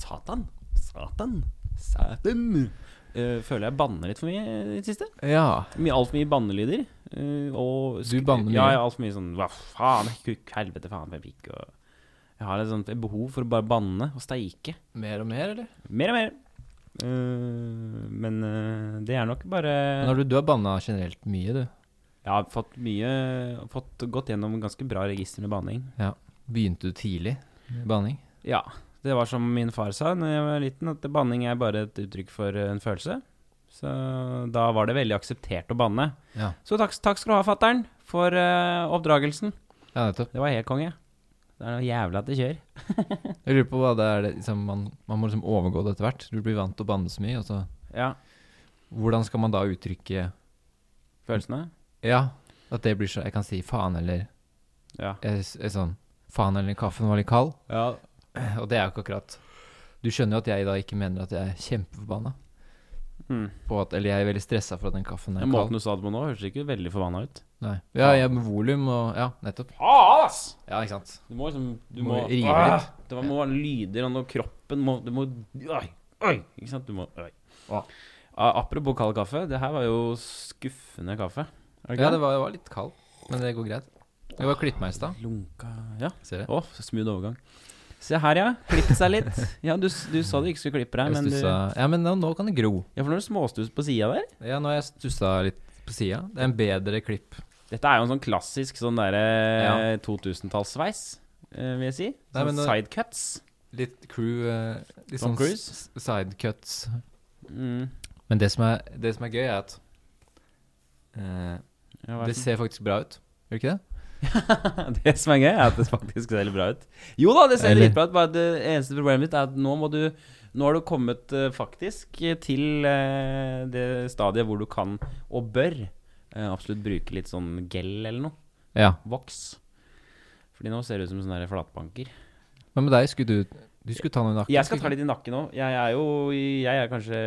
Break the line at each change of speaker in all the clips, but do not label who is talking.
Satan. Satan. Satan. Eh, føler jeg banner litt for mye eh, i det siste.
Ja.
Mye, Altfor mye bannelyder. eh, og
Du banner mye.
Ja, ja altfor mye sånn Hva faen, kukk, helvete, faen, pepikk og Jeg har et sånt behov for å bare banne og steike.
Mer og mer, eller?
Mer og mer. Eh, men eh, det er nok bare
Men har du, du har banna generelt mye, du.
Jeg har fått mye Fått gått gjennom ganske bra register med banning.
Begynte du tidlig med banning?
Ja. Det var som min far sa da jeg var liten, at banning er bare et uttrykk for eh, en følelse. Så da var det veldig akseptert å banne.
Ja.
Så takk, takk skal du ha, fatter'n, for eh, oppdragelsen.
Ja, nettopp.
Det var helt konge. Det er noe jævla at det kjører.
Jeg lurer på hva det er det, liksom, man, man må liksom overgå det etter hvert. Du blir vant til å banne så mye. Og så,
Ja,
hvordan skal man da uttrykke
følelsene.
Ja, at det blir så Jeg kan si faen eller
Ja.
jeg, s- jeg, sånn, Faen eller kaffen var litt kald. Og det er jo ikke akkurat Du skjønner jo at jeg da ikke mener at jeg er kjempeforbanna.
Mm.
På at, eller jeg er veldig stressa for at den kaffen er
Den måten
kald.
du sa det på nå, høres ikke veldig forbanna ut.
Nei. Ja, jeg med volum og Ja, nettopp.
Faen, ass!
Ja, ikke sant.
Du må liksom Du
Må
må,
rive
Ah!
litt.
Det var- må være lyder og noe kroppen må, Du må Oi, oi! Ikke sant? Du må Oi.
Ah.
Ah, apropos kald kaffe, det her var jo skuffende kaffe. Er
Ja, det var, det var litt kald, men det går greit. Jeg var klippet meg i stad.
Lunka Ja.
Ser du?
Å, så smooth overgang. Se her, ja. Klipp seg litt. Ja, du, s- du sa du ikke skulle klippe deg,
Jeg
men du
stussa
Ja,
Ja, men nå, nå kan det gro.
for når du småstus på sida der
Ja, nå har jeg stussa litt på sida. Det er en bedre klipp.
Dette er jo en sånn klassisk sånn derre 2000-tallssveis, eh, vil jeg si.
Nei, men
Sånn
det-
sidecuts.
Litt crew eh, Litt
Tom
sånn
Cruise?
s- s- sidecuts.
Mm.
Men det som er, det som er gøy, er at eh,
Ja, hva er
det ser faktisk bra ut. Gjør det ikke det?
Det som er gøy, er at det faktisk ser litt bra ut. Jo da, det ser
Eller-
litt bra ut, bare det eneste problemet mitt er at nå må du Nå har du kommet eh, faktisk til eh, det stadiet hvor du kan, og bør, eh, absolutt bruke litt sånn gel eller noe.
Ja.
Voks. Fordi nå ser det ut som sånne der flatbanker.
Men med deg skulle du Du skulle ta noe nakken.
Jeg skal ta
skulle
litt i nakken òg. Jeg er jo i- Jeg er kanskje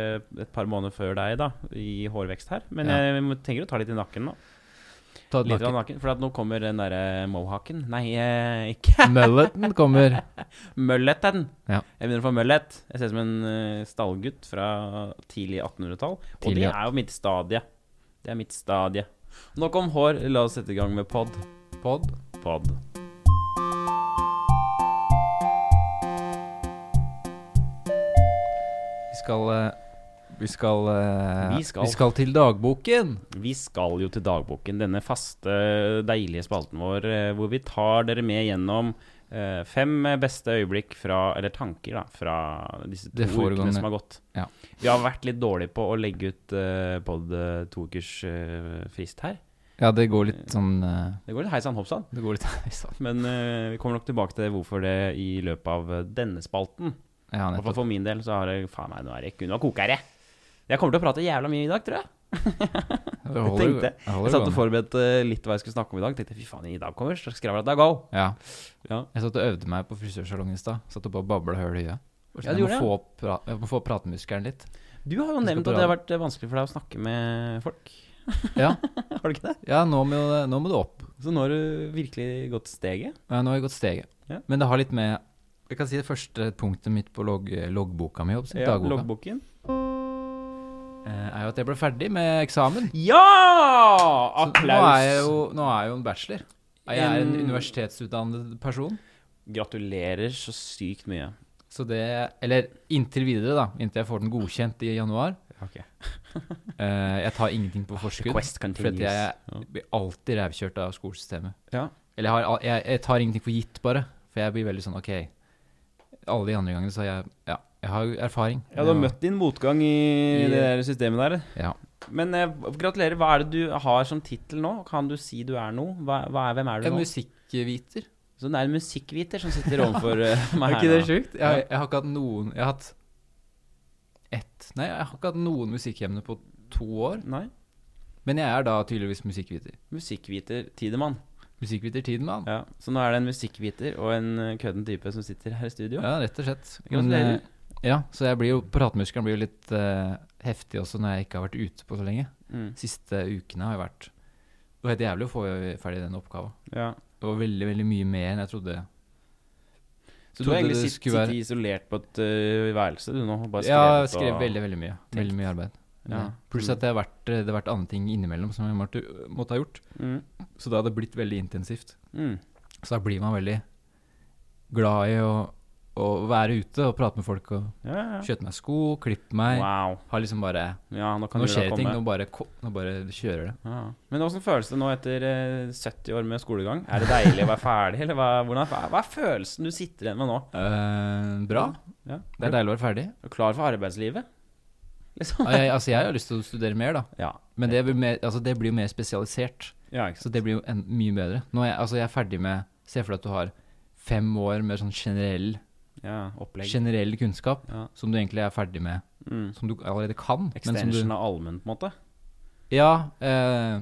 et par måneder før deg, da, i hårvekst her. Men
Ja.
jeg må- tenker å ta litt i nakken nå.
ikke? Ta
Litt av
nakken.
nakken. For at nå kommer den derre mohaken. Nei, eh, ikke
Mulleten kommer.
Mølleten.
Ja.
Jeg begynner å få møllet. Jeg ser ut som en eh, stallgutt fra tidlig 1800-tall. Og
Tidlig,
det
ja.
er jo mitt stadie. Det er mitt stadie. Nok om hår. La oss sette i gang med pod.
Pod.
Pod.
Vi skal eh, Vi skal eh,
Vi skal.
Vi skal til dagboken.
Vi skal jo til dagboken, denne faste, deilige spalten vår, eh, hvor vi tar dere med gjennom eh, fem beste øyeblikk fra Eller tanker, da, fra disse to
Det foregående.
ukene som har gått.
Ja.
Vi har vært litt dårlige på å legge ut uh, pod eh, to ukers eh, frist her.
Ja, det går litt sånn eh,
Det går litt hei sann, hopp sann.
Det går litt Nei, sant.
Men eh, vi kommer nok tilbake til hvorfor det i løpet av eh, denne spalten.
Ja,
I hvert fall
nettopp.
for min del så har jeg Faen meg, nå er det ikke unna kokere. Jeg kommer til å prate jævla mye i dag, tror jeg.
Det holder-
tenkte-
det holder
Jeg satt og
gående.
forberedte litt hva jeg skulle snakke om i dag. Tenkte fy faen, i dag kommer skravlet av go.
Ja.
Ja.
Jeg satt og øvde meg på frisørsalongen i stad. Satt og bare babla høl i øyet. Og
Ja, du
sånn, jeg,
gjorde
må
det.
få opp pra jeg må få opp pratemuskelen litt.
Du har jo
skal
nevnt
på
at det har vært eh, vanskelig for deg å snakke med folk.
Ja,
har du ikke det?
ja nå, må, det- nå må du opp.
Så nå har du virkelig gått steget.
Ja, nå har jeg gått steget.
Ja.
Men det har litt med Jeg kan si det første punktet mitt på log loggboka mi, opp,
Ja,
dagboka,
loggboken.
eh, er jo at jeg ble ferdig med eksamen.
Ja!
Så Nå
Applaus.
er jeg jo, nå er jeg jo en bachelor. Jeg er en
En-
universitetsutdannet person.
Gratulerer så sykt mye.
Så det Eller inntil videre, da. Inntil jeg får den godkjent i januar.
Ok.
Eh, jeg tar ingenting på forskudd.
Ah, Quest
Fordi
continues.
jeg
Ja.
blir alltid rævkjørt av skolesystemet.
Ja.
Eller jeg, har, al- jeg, jeg tar ingenting for gitt, bare. For jeg blir veldig sånn OK. Alle de andre gangene så har jeg Ja, jeg har jo erfaring.
Ja, du har
Og-
møtt din motgang i,
I-
det der systemet der.
Ja.
Men eh, gratulerer. Hva er det du har som tittel nå? Kan du si du er noe? Hva, hva er, hvem er
Jeg
du
er
nå?
musikkviter.
Så det er en musikkviter som sitter overfor eh, meg
Er
her
ikke det
nå.
sjukt? Jeg, jeg har ikke hatt noen Jeg har hatt ett Nei, jeg har ikke hatt noen musikkemne på to år.
Nei.
Men jeg er da tydeligvis musikkviter.
Musikkviter Tidemann.
Musikkviter Tidemann.
Ja. Så nå er det en musikkviter og en eh, kødden type som sitter her i studio.
Ja, rett og slett. Men,
Gratulerer.
eh, ja, så jeg blir jo Pratemuskelen blir jo litt eh, heftig også når jeg ikke har vært ute på så lenge.
Mm.
siste ukene har jeg vært Det var helt jævlig å få ferdig den oppgaven.
ja.
Det var veldig veldig mye mer enn jeg trodde.
Så du har
Trodde
egentlig
det
sitt,
skulle være-
sittet isolert på et eh, værelse, du nå? Bare
Ja, jeg
skrevet
skrev
og-
veldig, veldig mye.
tenkt.
Veldig mye arbeid.
Ja.
Ja. Pluss at det har vært, det har vært andre ting innimellom som jeg måtte, måtte ha gjort.
Mm.
Så det hadde blitt veldig intensivt.
Mm.
Så da blir man veldig glad i å, å være ute og prate med folk og
Ja, ja, ja.
kjøpe meg sko, klippe meg.
Wow.
Har liksom bare
Ja, nå kan
Nå
jula
skjer det ting,
komme.
nå bare, ko- nå bare kjører det.
Ja. Men åssen føles det nå etter eh, 70 år med skolegang? Er det deilig å være ferdig, eller hva, hvordan, hva er følelsen du sitter igjen med nå?
Eh, bra.
Ja.
Det er deilig å være ferdig.
Er du klar for arbeidslivet? Liksom.
Ah, Jeg, altså, jeg har lyst til å studere mer, da.
Ja.
Men det blir mer, altså, det blir jo mer spesialisert.
ja ikke sant?
Så det blir jo en, mye bedre. Nå er jeg, altså, jeg er ferdig med Se for deg at du har fem år med sånn generell,
Ja, opplegg.
generell kunnskap
Ja.
som du egentlig er ferdig med,
Mm.
som du allerede kan. men som du-
Extension av allmenn, på en måte.
Ja, eh,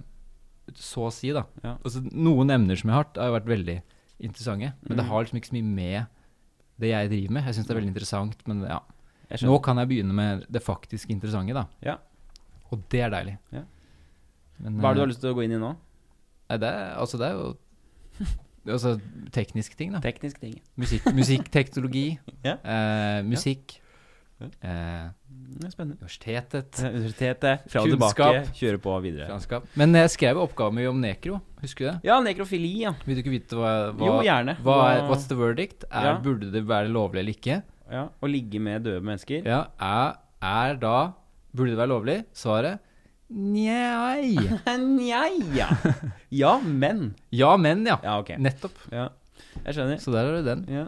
så å si, da.
Ja.
Altså, noen emner som jeg har hatt, har jo vært veldig interessante.
Mm.
Men det har liksom ikke så mye med det jeg driver med. Jeg syns det er veldig interessant, men ja.
Jeg
Nå
skjønner.
kan jeg begynne med det faktisk interessante, da.
Ja.
Og det er deilig.
Ja.
Men,
Hva er det du
eh,
har lyst til å gå inn i nå?
nei, det er, altså, det er jo Altså tekniske ting, da.
Teknisk ting.
Musikk, musikkteknologi.
Ja.
eh, musikk. Eh,
Det er spennende.
universitetet.
Eh, Universitetet, fra og
Kunnskap.
tilbake, kjøre på videre.
Franskap. Men jeg skrev oppgave mye om nekro, husker du det?
Ja, nekrofili, ja.
Vil du ikke vite hva, hva
Jo, gjerne.
Hva er, what's the verdict? Er,
Ja.
Burde det være lovlig eller ikke?
ja, å ligge med døde mennesker?
Ja, er, er da Burde det være lovlig? Svaret Nei.
Nja, ja. Ja, men.
Ja, men, ja.
Ja, ok.
Nettopp.
Ja. Jeg skjønner.
Så der har du den.
Ja.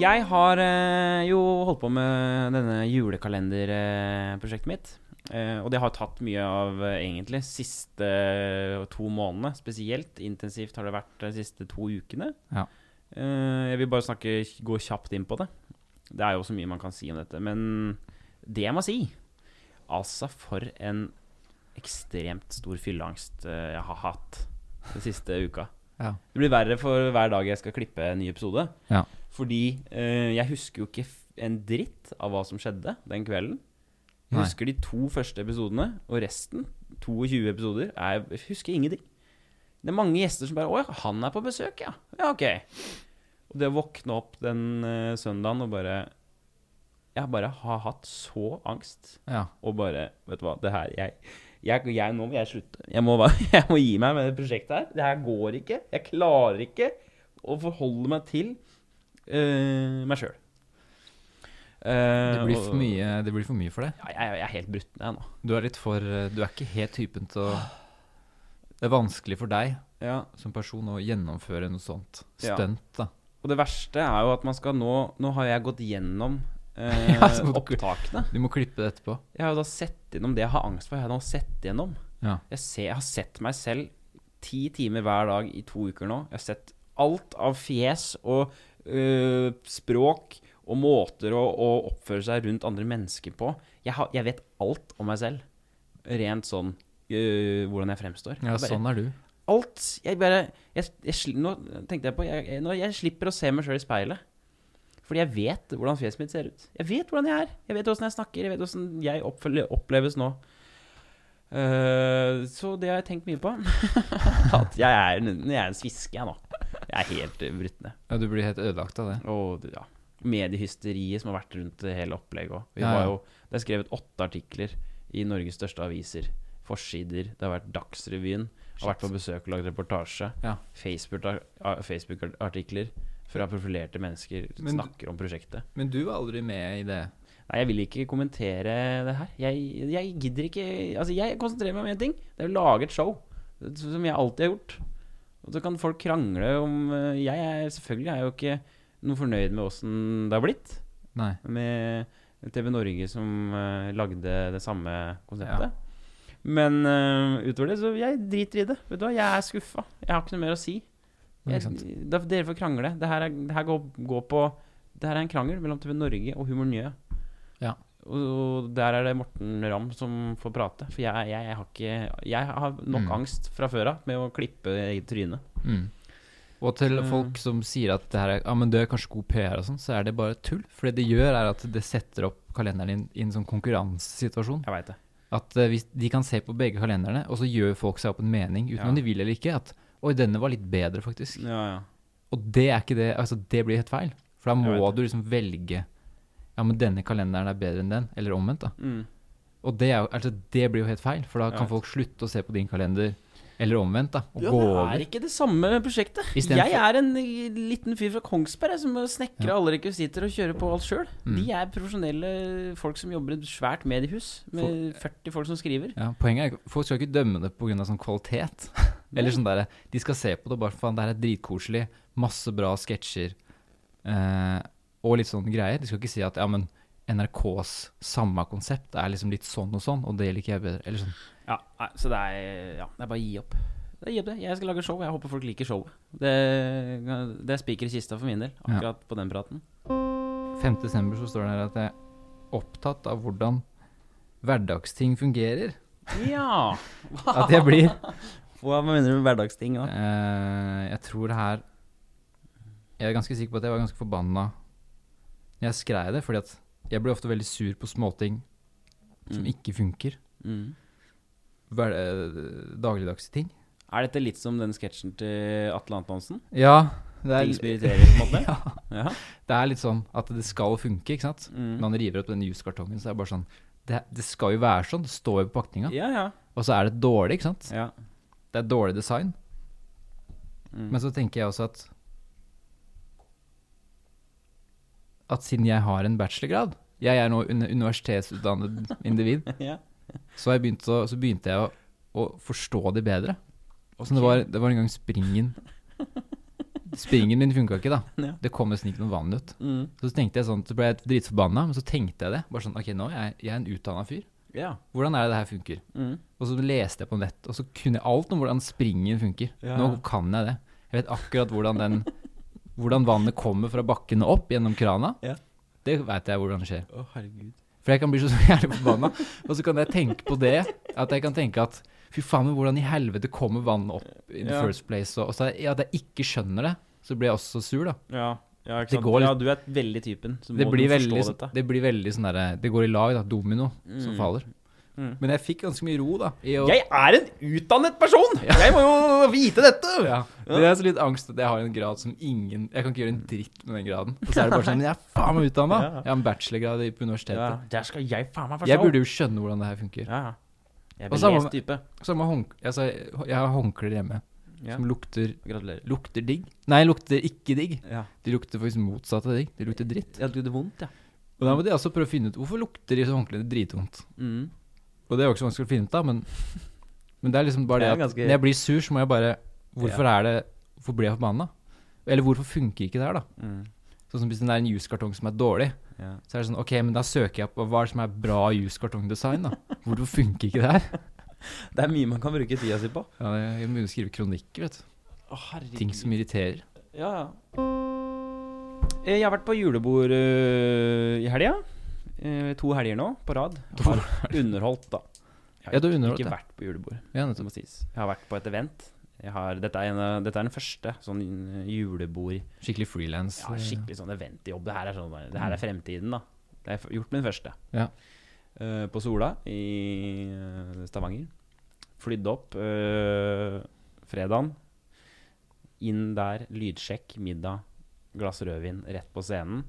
Jeg har eh, jo holdt på med denne julekalenderprosjektet mitt. Eh, og det har tatt mye av eh, egentlig siste eh, to månedene. Spesielt intensivt har det vært de siste to ukene.
Ja.
Eh, jeg vil bare snakke, gå kjapt inn på det. Det er jo så mye man kan si om dette. Men det jeg må si Altså, for en ekstremt stor fylleangst eh, jeg har hatt den siste uka.
Ja.
Det blir verre for hver dag jeg skal klippe en ny episode.
Ja.
Fordi eh, jeg husker jo ikke f- en dritt av hva som skjedde den kvelden. Jeg
Nei.
husker de to første episodene, og resten, 22 episoder, er, jeg husker ingenting. Det er mange gjester som bare 'Å ja, han er på besøk, ja'. Ja, ok. Og det å våkne opp den eh, søndagen og bare Jeg bare har hatt så angst
Ja.
og bare Vet du hva, det her jeg, jeg, jeg, Nå må jeg slutte. Jeg må, bare, jeg må gi meg med det prosjektet her. Det her går ikke. Jeg klarer ikke å forholde meg til eh, meg sjøl.
Det blir, for mye, det blir for mye for deg.
Ja, jeg, jeg er helt brutt ned nå.
Du er litt for eh, Du er ikke helt typen til å Det er vanskelig for deg
Ja.
som person å gjennomføre noe sånt
Ja.
stunt, da.
Og det verste er jo at man skal nå Nå har jeg gått gjennom eh,
Ja, så må du-
opptakene.
Du må klippe det etterpå.
Jeg har jo da sett gjennom det jeg har angst for. Jeg har nå sett gjennom.
Ja.
Jeg, ser, jeg har sett meg selv ti timer hver dag i to uker nå. Jeg har sett alt av fjes og øh, språk og måter å, å oppføre seg rundt andre mennesker på. Jeg, har, jeg vet alt om meg selv. Rent sånn øh, hvordan jeg fremstår.
ja,
Jeg bare,
sånn er du.
Alt. Jeg bare jeg, jeg, sli- Nå tenkte jeg på jeg, jeg, nå, jeg slipper å se meg sjøl i speilet. Fordi jeg vet hvordan fjeset mitt ser ut. Jeg vet hvordan jeg er. Jeg vet åssen jeg snakker. Jeg vet åssen jeg oppføl- oppleves nå. Eh, så det har jeg tenkt mye på. At jeg er, en- jeg er en sviske, jeg nå. Jeg er helt eh, brutt ned.
Ja, du blir helt ødelagt av det.
Og det- ja, mediehysteriet som har vært rundt det hele opplegget òg.
Ja, ja.
Det er skrevet åtte artikler i Norges største aviser. Forsider. Det har vært Dagsrevyen. Har vært på besøk og lagd reportasje.
Ja.
Facebook-ar- a- Facebook-artikler fra profilerte mennesker
Men du-
snakker om prosjektet.
Men du var aldri med i det.
Nei, jeg vil ikke kommentere det her. Jeg, jeg gidder ikke Altså, jeg konsentrerer meg om én ting. Det er å lage et show. Sånn Som jeg alltid har gjort. Og så kan folk krangle om eh, Jeg er selvfølgelig er jeg jo ikke noe fornøyd med åssen det har blitt
Nei.
med TV Norge som eh, lagde det samme konseptet. Men eh, utover det, så jeg driter i det. Vet du hva, jeg er skuffa. Jeg har ikke noe mer å si.
Nei,
Jeg,
ikke sant.
da, dere får krangle. Det her, er, det her går, går på Det her er en krangel mellom TV Norge og Humor Njø.
Ja.
Og, og der er det Morten Ramm som får prate. For jeg, jeg, jeg har ikke Jeg har nok
Mm.
angst fra før av med å klippe i trynet.
Mm. Og til
Så-
folk som sier at det her er, ja, men det er kanskje god PR og sånn, så er det bare tull. For det det gjør, er at det setter opp kalenderen din i en sånn konkurransesituasjon.
Jeg veit det.
At eh, hvis de kan se på begge kalenderne, og så gjør folk seg opp en mening uten
Ja.
om de vil eller ikke. At 'oi, denne var litt bedre, faktisk'.
Ja, ja.
Og det er ikke det Altså, det blir helt feil. For da
Jeg
må
vet
du liksom velge Ja, men denne kalenderen er bedre enn den, eller omvendt, da.
Mm.
Og det, er, jo- altså, det blir jo helt feil, for da
Jeg
kan
vet.
folk slutte å se på din kalender, eller omvendt, da, og
Ja,
gå
det
over.
er ikke det samme prosjektet.
I stedet
Jeg
for-
er en eh, liten fyr fra Kongsberg jeg, som snekrer alle rekvisitter og kjører på alt sjøl.
Mm.
De er profesjonelle folk som jobber i et svært mediehus med 40 folk som skriver.
Ja, poenget er ikke- folk skal ikke dømme det pga. sånn kvalitet. eller sånn derre De skal se på det og bare faen, det her er dritkoselig, masse bra sketsjer eh, og litt sånne greier. De skal ikke si at ja, men NRKs samme konsept er liksom litt sånn og sånn, og det liker jeg bedre. Eller sånn.
Ja, nei, så det er, ja, det er bare å gi opp. Det er gi opp det. Jeg skal lage show. Jeg håper folk liker showet. Det, det er spiker i kista for min del, akkurat på den praten.
5. desember så står det her at jeg er opptatt av hvordan hverdagsting fungerer.
Ja!
At jeg blir
Hva mener du med hverdagsting? da?
Eh, Jeg tror det her Jeg er ganske sikker på at jeg var ganske forbanna når jeg skrev det, fordi at jeg blir ofte veldig sur på småting som
Mm.
ikke funker.
Mm.
Hver, eh, dagligdagse ting.
Er dette litt som den sketsjen til Atle Antonsen?
Ja, det
Ting som
er,
irriterer, på en måte? ja.
det er litt sånn at det skal funke, ikke sant?
Mm.
Når han river opp den juskartongen, så er det bare sånn det, det skal jo være sånn, det står jo på pakninga.
Ja, ja.
Og så er det dårlig, ikke sant?
ja.
Det er dårlig design.
Mm.
Men så tenker jeg også at At siden jeg har en bachelorgrad Jeg er nå un universitetsutdannet individ
ja.
Så, jeg begynte å, så begynte jeg å, å forstå det bedre Så
Ok.
det var, det var en gang springen Springen min funket ikke da
Ja.
Det kom nesten ikke noe vanlig ut
Mm.
Så tenkte jeg sånn, så ble jeg dritforbanna Men så tenkte jeg det, bare sånn, ok nå er jeg, jeg er en utdannet fyr
ja.
Hvordan er det det her funker?
Mm.
Og så leste jeg på nett, og så kunne jeg alt om hvordan springen funker.
Ja.
Nå kan jeg det. Jeg vet akkurat hvordan, den, hvordan vannet kommer fra bakken og opp gjennom krana.
Ja.
Det veit jeg hvordan det skjer.
Å, herregud.
For jeg kan bli så jævlig forbanna. Og så kan jeg tenke på det, at jeg kan tenke at fy faen, men hvordan i helvete kommer vannet opp in the
Ja.
first place? Og, og så er- ja, at jeg ikke skjønner det, så blir jeg også sur, da.
Ja. Ja, ikke
Det
sant?
går litt-
ja, du er veldig typen som
Det
må
blir,
du forstå
veldig,
dette.
det blir veldig sånn derre Det går i lag, da. Domino som
Mm.
faller.
Mm.
Men jeg fikk ganske mye ro, da. I å,
Jeg er en utdannet person! Jeg må jo vite dette!
Ja. Det er så litt angst at jeg har en grad som ingen Jeg kan ikke gjøre en dritt med den graden. Og så er det bare sånn Jeg er faen meg utdanna!
Ja.
Jeg har en bachelorgrad i- på
Ja,
universitetet.
der skal jeg faen meg forstå.
Jeg burde jo skjønne hvordan det her funker.
Ja, ja. Jeg er
Og så har
belest
man-
type.
Samme hånd... Altså, jeg har håndklær hjemme
Ja.
som lukter
Gratulerer.
Lukter digg. Nei, lukter ikke digg.
Ja.
De lukter faktisk motsatt av digg. De lukter dritt.
ja, du gjorde vondt, ja.
Og da må de altså prøve å finne ut Hvorfor lukter disse håndklærne dritvondt?
Mm.
Og det er jo ikke så vanskelig å finne ut av, men, men det er liksom bare det
Det er
at
ganske-
når jeg blir sur, så må jeg bare Hvorfor er det Hvorfor blir jeg forbanna? Eller hvorfor funker ikke det her, da?
Mm.
Sånn som hvis det er en juskartong som er dårlig,
Ja.
så er det sånn Ok, men da søker jeg på hva er det som er bra juskartongdesign, da? Hvorfor funker ikke det her?
Det er mye man kan bruke tida si på.
Ja, jeg begynner å skrive kronikker, vet du.
Å, herregud.
Ting som irriterer.
Ja, ja. Eh, Jeg har vært på julebord eh, i helga. Eh, to helger nå på rad. Har underholdt, da. Jeg har
Ja, du har underholdt,
ikke
ja.
vært på julebord.
Ja,
det
nettopp.
må sies. Jeg har vært på et event. Jeg har, dette, er en, av- dette er den første sånn julebord
Skikkelig frilans.
ja, Skikkelig sånn eventjobb. Det her er, sånn, det her er fremtiden, da. Det har jeg f- gjort min første.
Ja.
Eh, på Sola i eh, Stavanger. Flydde opp uh, fredagen. Inn der, lydsjekk, middag, glass rødvin rett på scenen.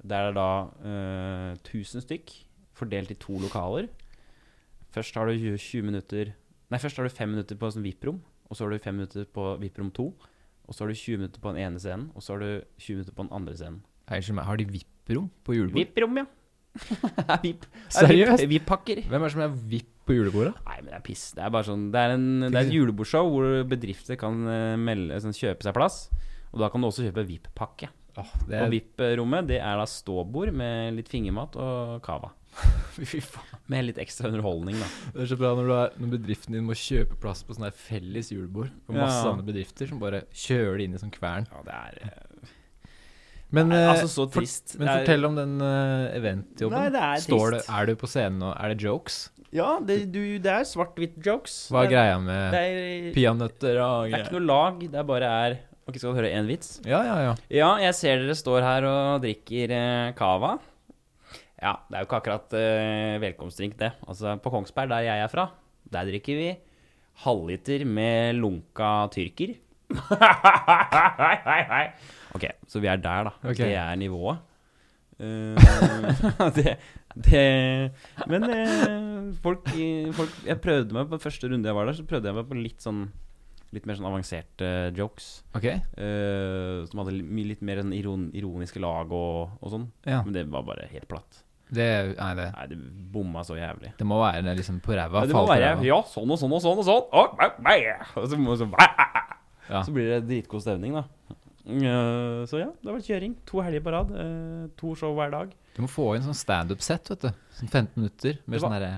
Der er det da eh, 1000 stykk fordelt i to lokaler. Først har du 20 20 minutter Nei, først har du 5 minutter på sånn VIP-rom, og så har du 5 minutter på VIP-rom 2. Og så har du 20 minutter på den ene scenen, og så har du 20 minutter på den andre scenen.
Unnskyld meg, har de VIP-rom på julebord?
VIP-rom, ja. VIP.
Seriøst?
VIP-pakker.
Hvem er det som er VIP på julebordet?
Nei, men det er piss. Det er bare sånn Det er, en, det er et julebordshow hvor bedrifter kan eh, melde, sånn, kjøpe seg plass. Og da kan du også kjøpe VIP-pakke.
det
Og VIP-rommet det er da ståbord med litt fingermat og cava.
Fy faen.
Med litt ekstra underholdning, da.
Det er så bra når, du er, når bedriften din må kjøpe plass på sånne her felles julebord for masse
Ja.
andre bedrifter som bare kjører det inn i sånn kvern.
Ja, det er eh,
Men,
Nei,
eh,
altså, så
for-
trist.
men
Det er-
fortell om den eh, eventjobben.
Nei, det er
Står det,
trist.
er du på scenen og er det jokes?
Ja, det, du, det er svart-hvitt-jokes.
Hva er greia med
Det er, det
Peanøtter og
er ikke noe lag. Det er bare er Ok, skal du høre én vits?
Ja, ja, ja.
Ja, jeg ser dere står her og drikker eh, cava. Ja, det er jo ikke akkurat eh, velkomstdrink, det. Altså, på Kongsberg, der jeg er fra, der drikker vi halvliter med lunka tyrker. Hei, hei, hei. Ok, så vi er der, da.
Ok.
Det er nivået. Eh, det, det Men eh, folk, i- folk Jeg prøvde meg på første runde jeg var der, så prøvde jeg meg på litt sånn Litt mer sånn avanserte jokes.
Ok?
eh, som hadde li- mye- litt mer sånn iron, ironiske lag og, og sånn.
Ja.
Men det var bare helt platt.
Det, nei, det,
Nei, det bomma så jævlig.
det må være det liksom på ræva.
Ja, det
fall
må
på
være
ræva.
ja, sånn og sånn og sånn og sånn. Og, og, og, så, må- så,
Ja.
så blir det dritgod stemning, da. Eh, så ja, det har vært kjøring. To helger på rad. eh, to show hver dag.
Du må få inn sånn standup-sett, vet du. Sånn 15 minutter med
Det var-
sånn derre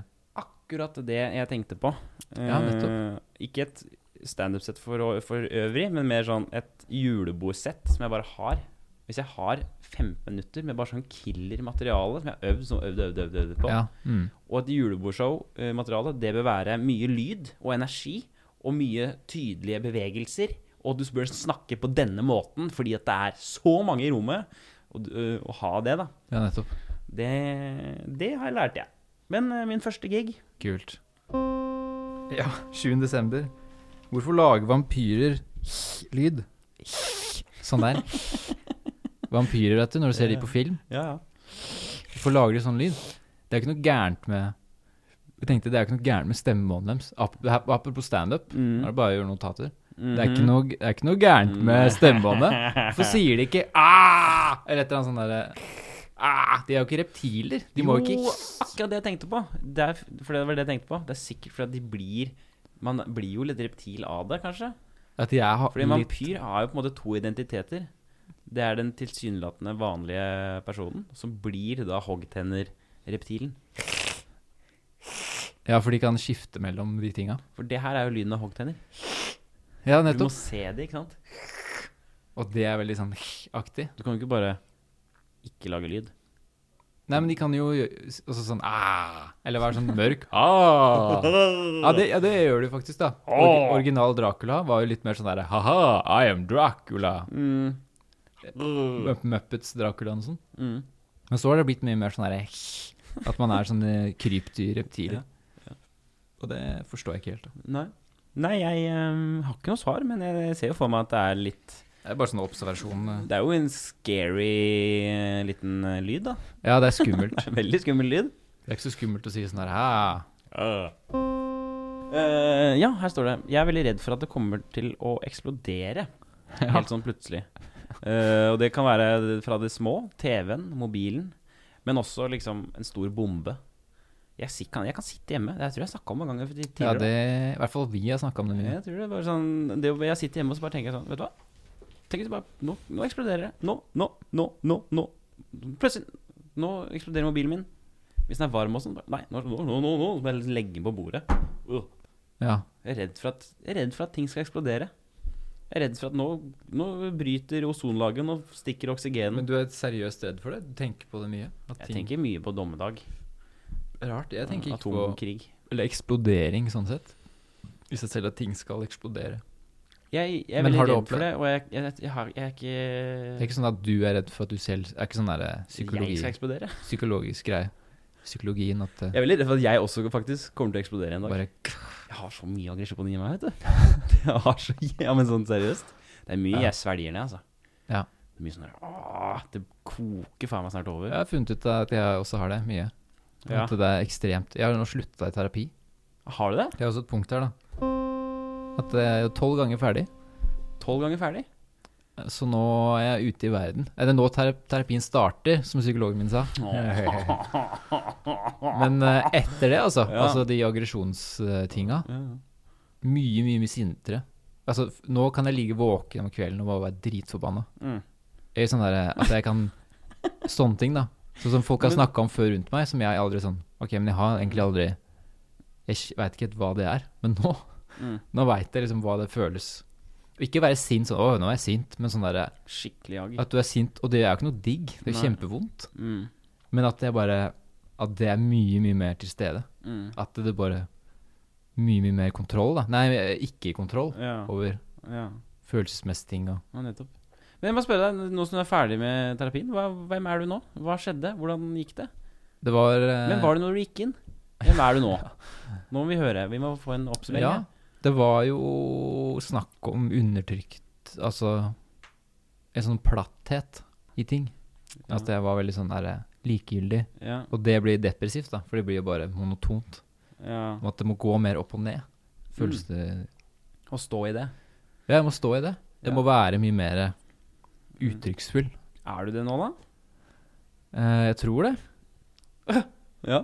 Akkurat det jeg tenkte på. Eh,
Ja, nettopp.
ikke et standup-sett for, å- for øvrig, men mer sånn et julebordsett som jeg bare har. Hvis jeg har 15 minutter med bare sånn killer-materiale som jeg har øvd, som øvd, øvd, øvd, øvd på,
ja. mm.
Og et julebordshow-materiale, det bør være mye lyd og energi, og mye tydelige bevegelser, og du bør snakke på denne måten, fordi at det er så mange i rommet, og du- øh, å ha det da,
ja, nettopp.
det, det har jeg lært jeg. Men øh, min første gig,
Kult. Ja, 7. desember. Hvorfor lager vampyrer lyd? Sånn der. Vampyrer, vet du, når du ser de på film.
ja, ja.
Hvorfor lager de sånn lyd? Det er ikke noe gærent med Jeg tenkte det er ikke noe gærent med stemmebåndet deres. Ap- det her- Apropos standup,
Mm.
da er det bare å gjøre notater. det, er
Mm-hmm.
ikke noe, det er ikke noe gærent med
Mm.
stemmebåndet. Hvorfor sier de ikke ah! Eller et eller annet sånt derre ah! De er jo ikke reptiler. De må jo ikke
akkurat det jeg tenkte på. Det er, for det var det jeg tenkte på. Det er sikkert fordi at de blir, man blir jo litt reptil av det, kanskje.
At de er ha-
Fordi en
litt
vampyr har jo på en måte to identiteter. Det er den tilsynelatende vanlige personen, som blir da hoggtenner-reptilen.
Ja, for de kan skifte mellom de tinga.
For det her er jo lyden av hoggtenner.
Ja,
Du må
nettopp.
se det, ikke sant?
Og det er veldig sånn aktig.
Du kan jo ikke bare ikke lage lyd.
Nei, men de kan jo gjø- også sånn ah! Eller være sånn mørk ah! ja, det, ja, det gjør de faktisk, da. Orgi- original Dracula var jo litt mer sånn derre ha-ha, I am Dracula. Mu- Muppets Dracula og sånn.
Mm.
Men så har det blitt mye mer sånn derre at man er sånne krypdyr, reptiler. Og det forstår jeg ikke helt. da.
Nei. Nei, jeg eh, har ikke noe svar, men jeg ser jo for meg at det er litt
Det er bare sånn observasjon. eh.
Det er jo en scary eh, liten eh, lyd, da.
Ja, det er skummelt.
Det er en Veldig skummel lyd.
Det er ikke så skummelt å si sånn der ha.
Eh, ja, her står det. Jeg er veldig redd for at det kommer til å eksplodere. Helt sånn plutselig. Eh, og det kan være fra det små, TV-en, mobilen, men også liksom en stor bombe. Jeg, si- kan, jeg kan sitte hjemme. Det tror jeg jeg snakka om en gang tidligere.
Ja, det, I hvert fall vi har snakka om det mye.
Jeg tror det var sånn det, Jeg sitter hjemme og så bare tenker jeg sånn Vet du hva? Tenk hvis det bare Nå, nå eksploderer det. Nå, nå, nå, nå. nå Plutselig Nå eksploderer mobilen min. Hvis den er varm og sånn bare, Nei, nå, nå, nå, nå, nå. Så Bare legge den på bordet. Øh.
Ja.
Jeg er redd for at, jeg er redd for at ting skal eksplodere. Jeg er redd for at nå, nå bryter ozonlaget, nå stikker
Men
oksygenet.
du er seriøst redd for det? Du tenker på det mye? At
Jeg tenker mye på dommedag.
Rart. Jeg tenker ikke på
Atomkrig.
Eller eksplodering, sånn sett. I seg selv at ting skal eksplodere.
Jeg, jeg er
Men
veldig
har du
redd
opplevd-
for det, og jeg, jeg, jeg, har, jeg er ikke
Det er ikke sånn at du er redd for at du selv Det er ikke sånn der eh, psykologi,
Jeg skal eksplodere.
psykologisk greie. Psykologien at
Jeg
det
er veldig redd for at jeg også faktisk kommer til å eksplodere en dag.
bare
Jeg har så mye aggresjon i meg, vet du. Jeg har så, ja, men sånn seriøst. Det er mye
Ja.
jeg svelger ned, altså.
Ja.
Det er mye sånn der, «Åh, det koker faen meg snart over.
Jeg har funnet ut at jeg også har det mye.
Ja.
At det er ekstremt Jeg har nå slutta i terapi.
Har du det?
Det er også et punkt her, da. At det er jo tolv ganger ferdig.
Tolv ganger ferdig?
Så nå er jeg ute i verden. Eller nå ter terapien starter, som psykologen min sa. Men eh, etter det, altså.
Ja.
Altså de aggresjonstinga.
Ja.
Mye, mye, mye sintere. Altså, f- nå kan jeg ligge våken om kvelden og bare være dritforbanna.
Mm.
Eller sånn derre at jeg kan Sånne ting, da. Sånn som folk har
Men-
snakka om før rundt meg, som jeg aldri sånn Ok, men jeg har egentlig aldri Jeg veit ikke helt hva det er, men nå
Mm.
Nå veit jeg liksom hva det føles. Og Ikke være sint sånn Å, nå er jeg sint, men sånn derre
Skikkelig agg.
At du er sint, og det er jo ikke noe digg, det er jo
Nei.
kjempevondt,
Mm.
men at det bare At det er mye, mye mer til stede.
Mm.
At det bare Mye, mye mer kontroll, da. Nei, ikke kontroll
Ja.
over
ja,
følelsesmessige ting og
ja, nettopp. Men jeg må spørre deg, nå som du er ferdig med terapien, hva, hvem er du nå? Hva skjedde? Hvordan gikk det?
Det var eh,
Hvem var det når du gikk inn? Hvem er du nå? Nå må vi høre. Vi må få en oppsummering.
Ja,
her.
det var jo snakk om undertrykt Altså en sånn platthet i ting.
Ja.
At jeg var veldig sånn der eh, likegyldig.
Ja.
Og det blir depressivt, da, for det blir jo bare monotont.
ja.
Om At det må gå mer opp og ned.
Mm.
Føles det
Å stå i det.
Ja, jeg må stå i det. Jeg
Ja.
må være mye mer uttrykksfull.
Er du det nå, da?
Eh, jeg tror det.
Ja.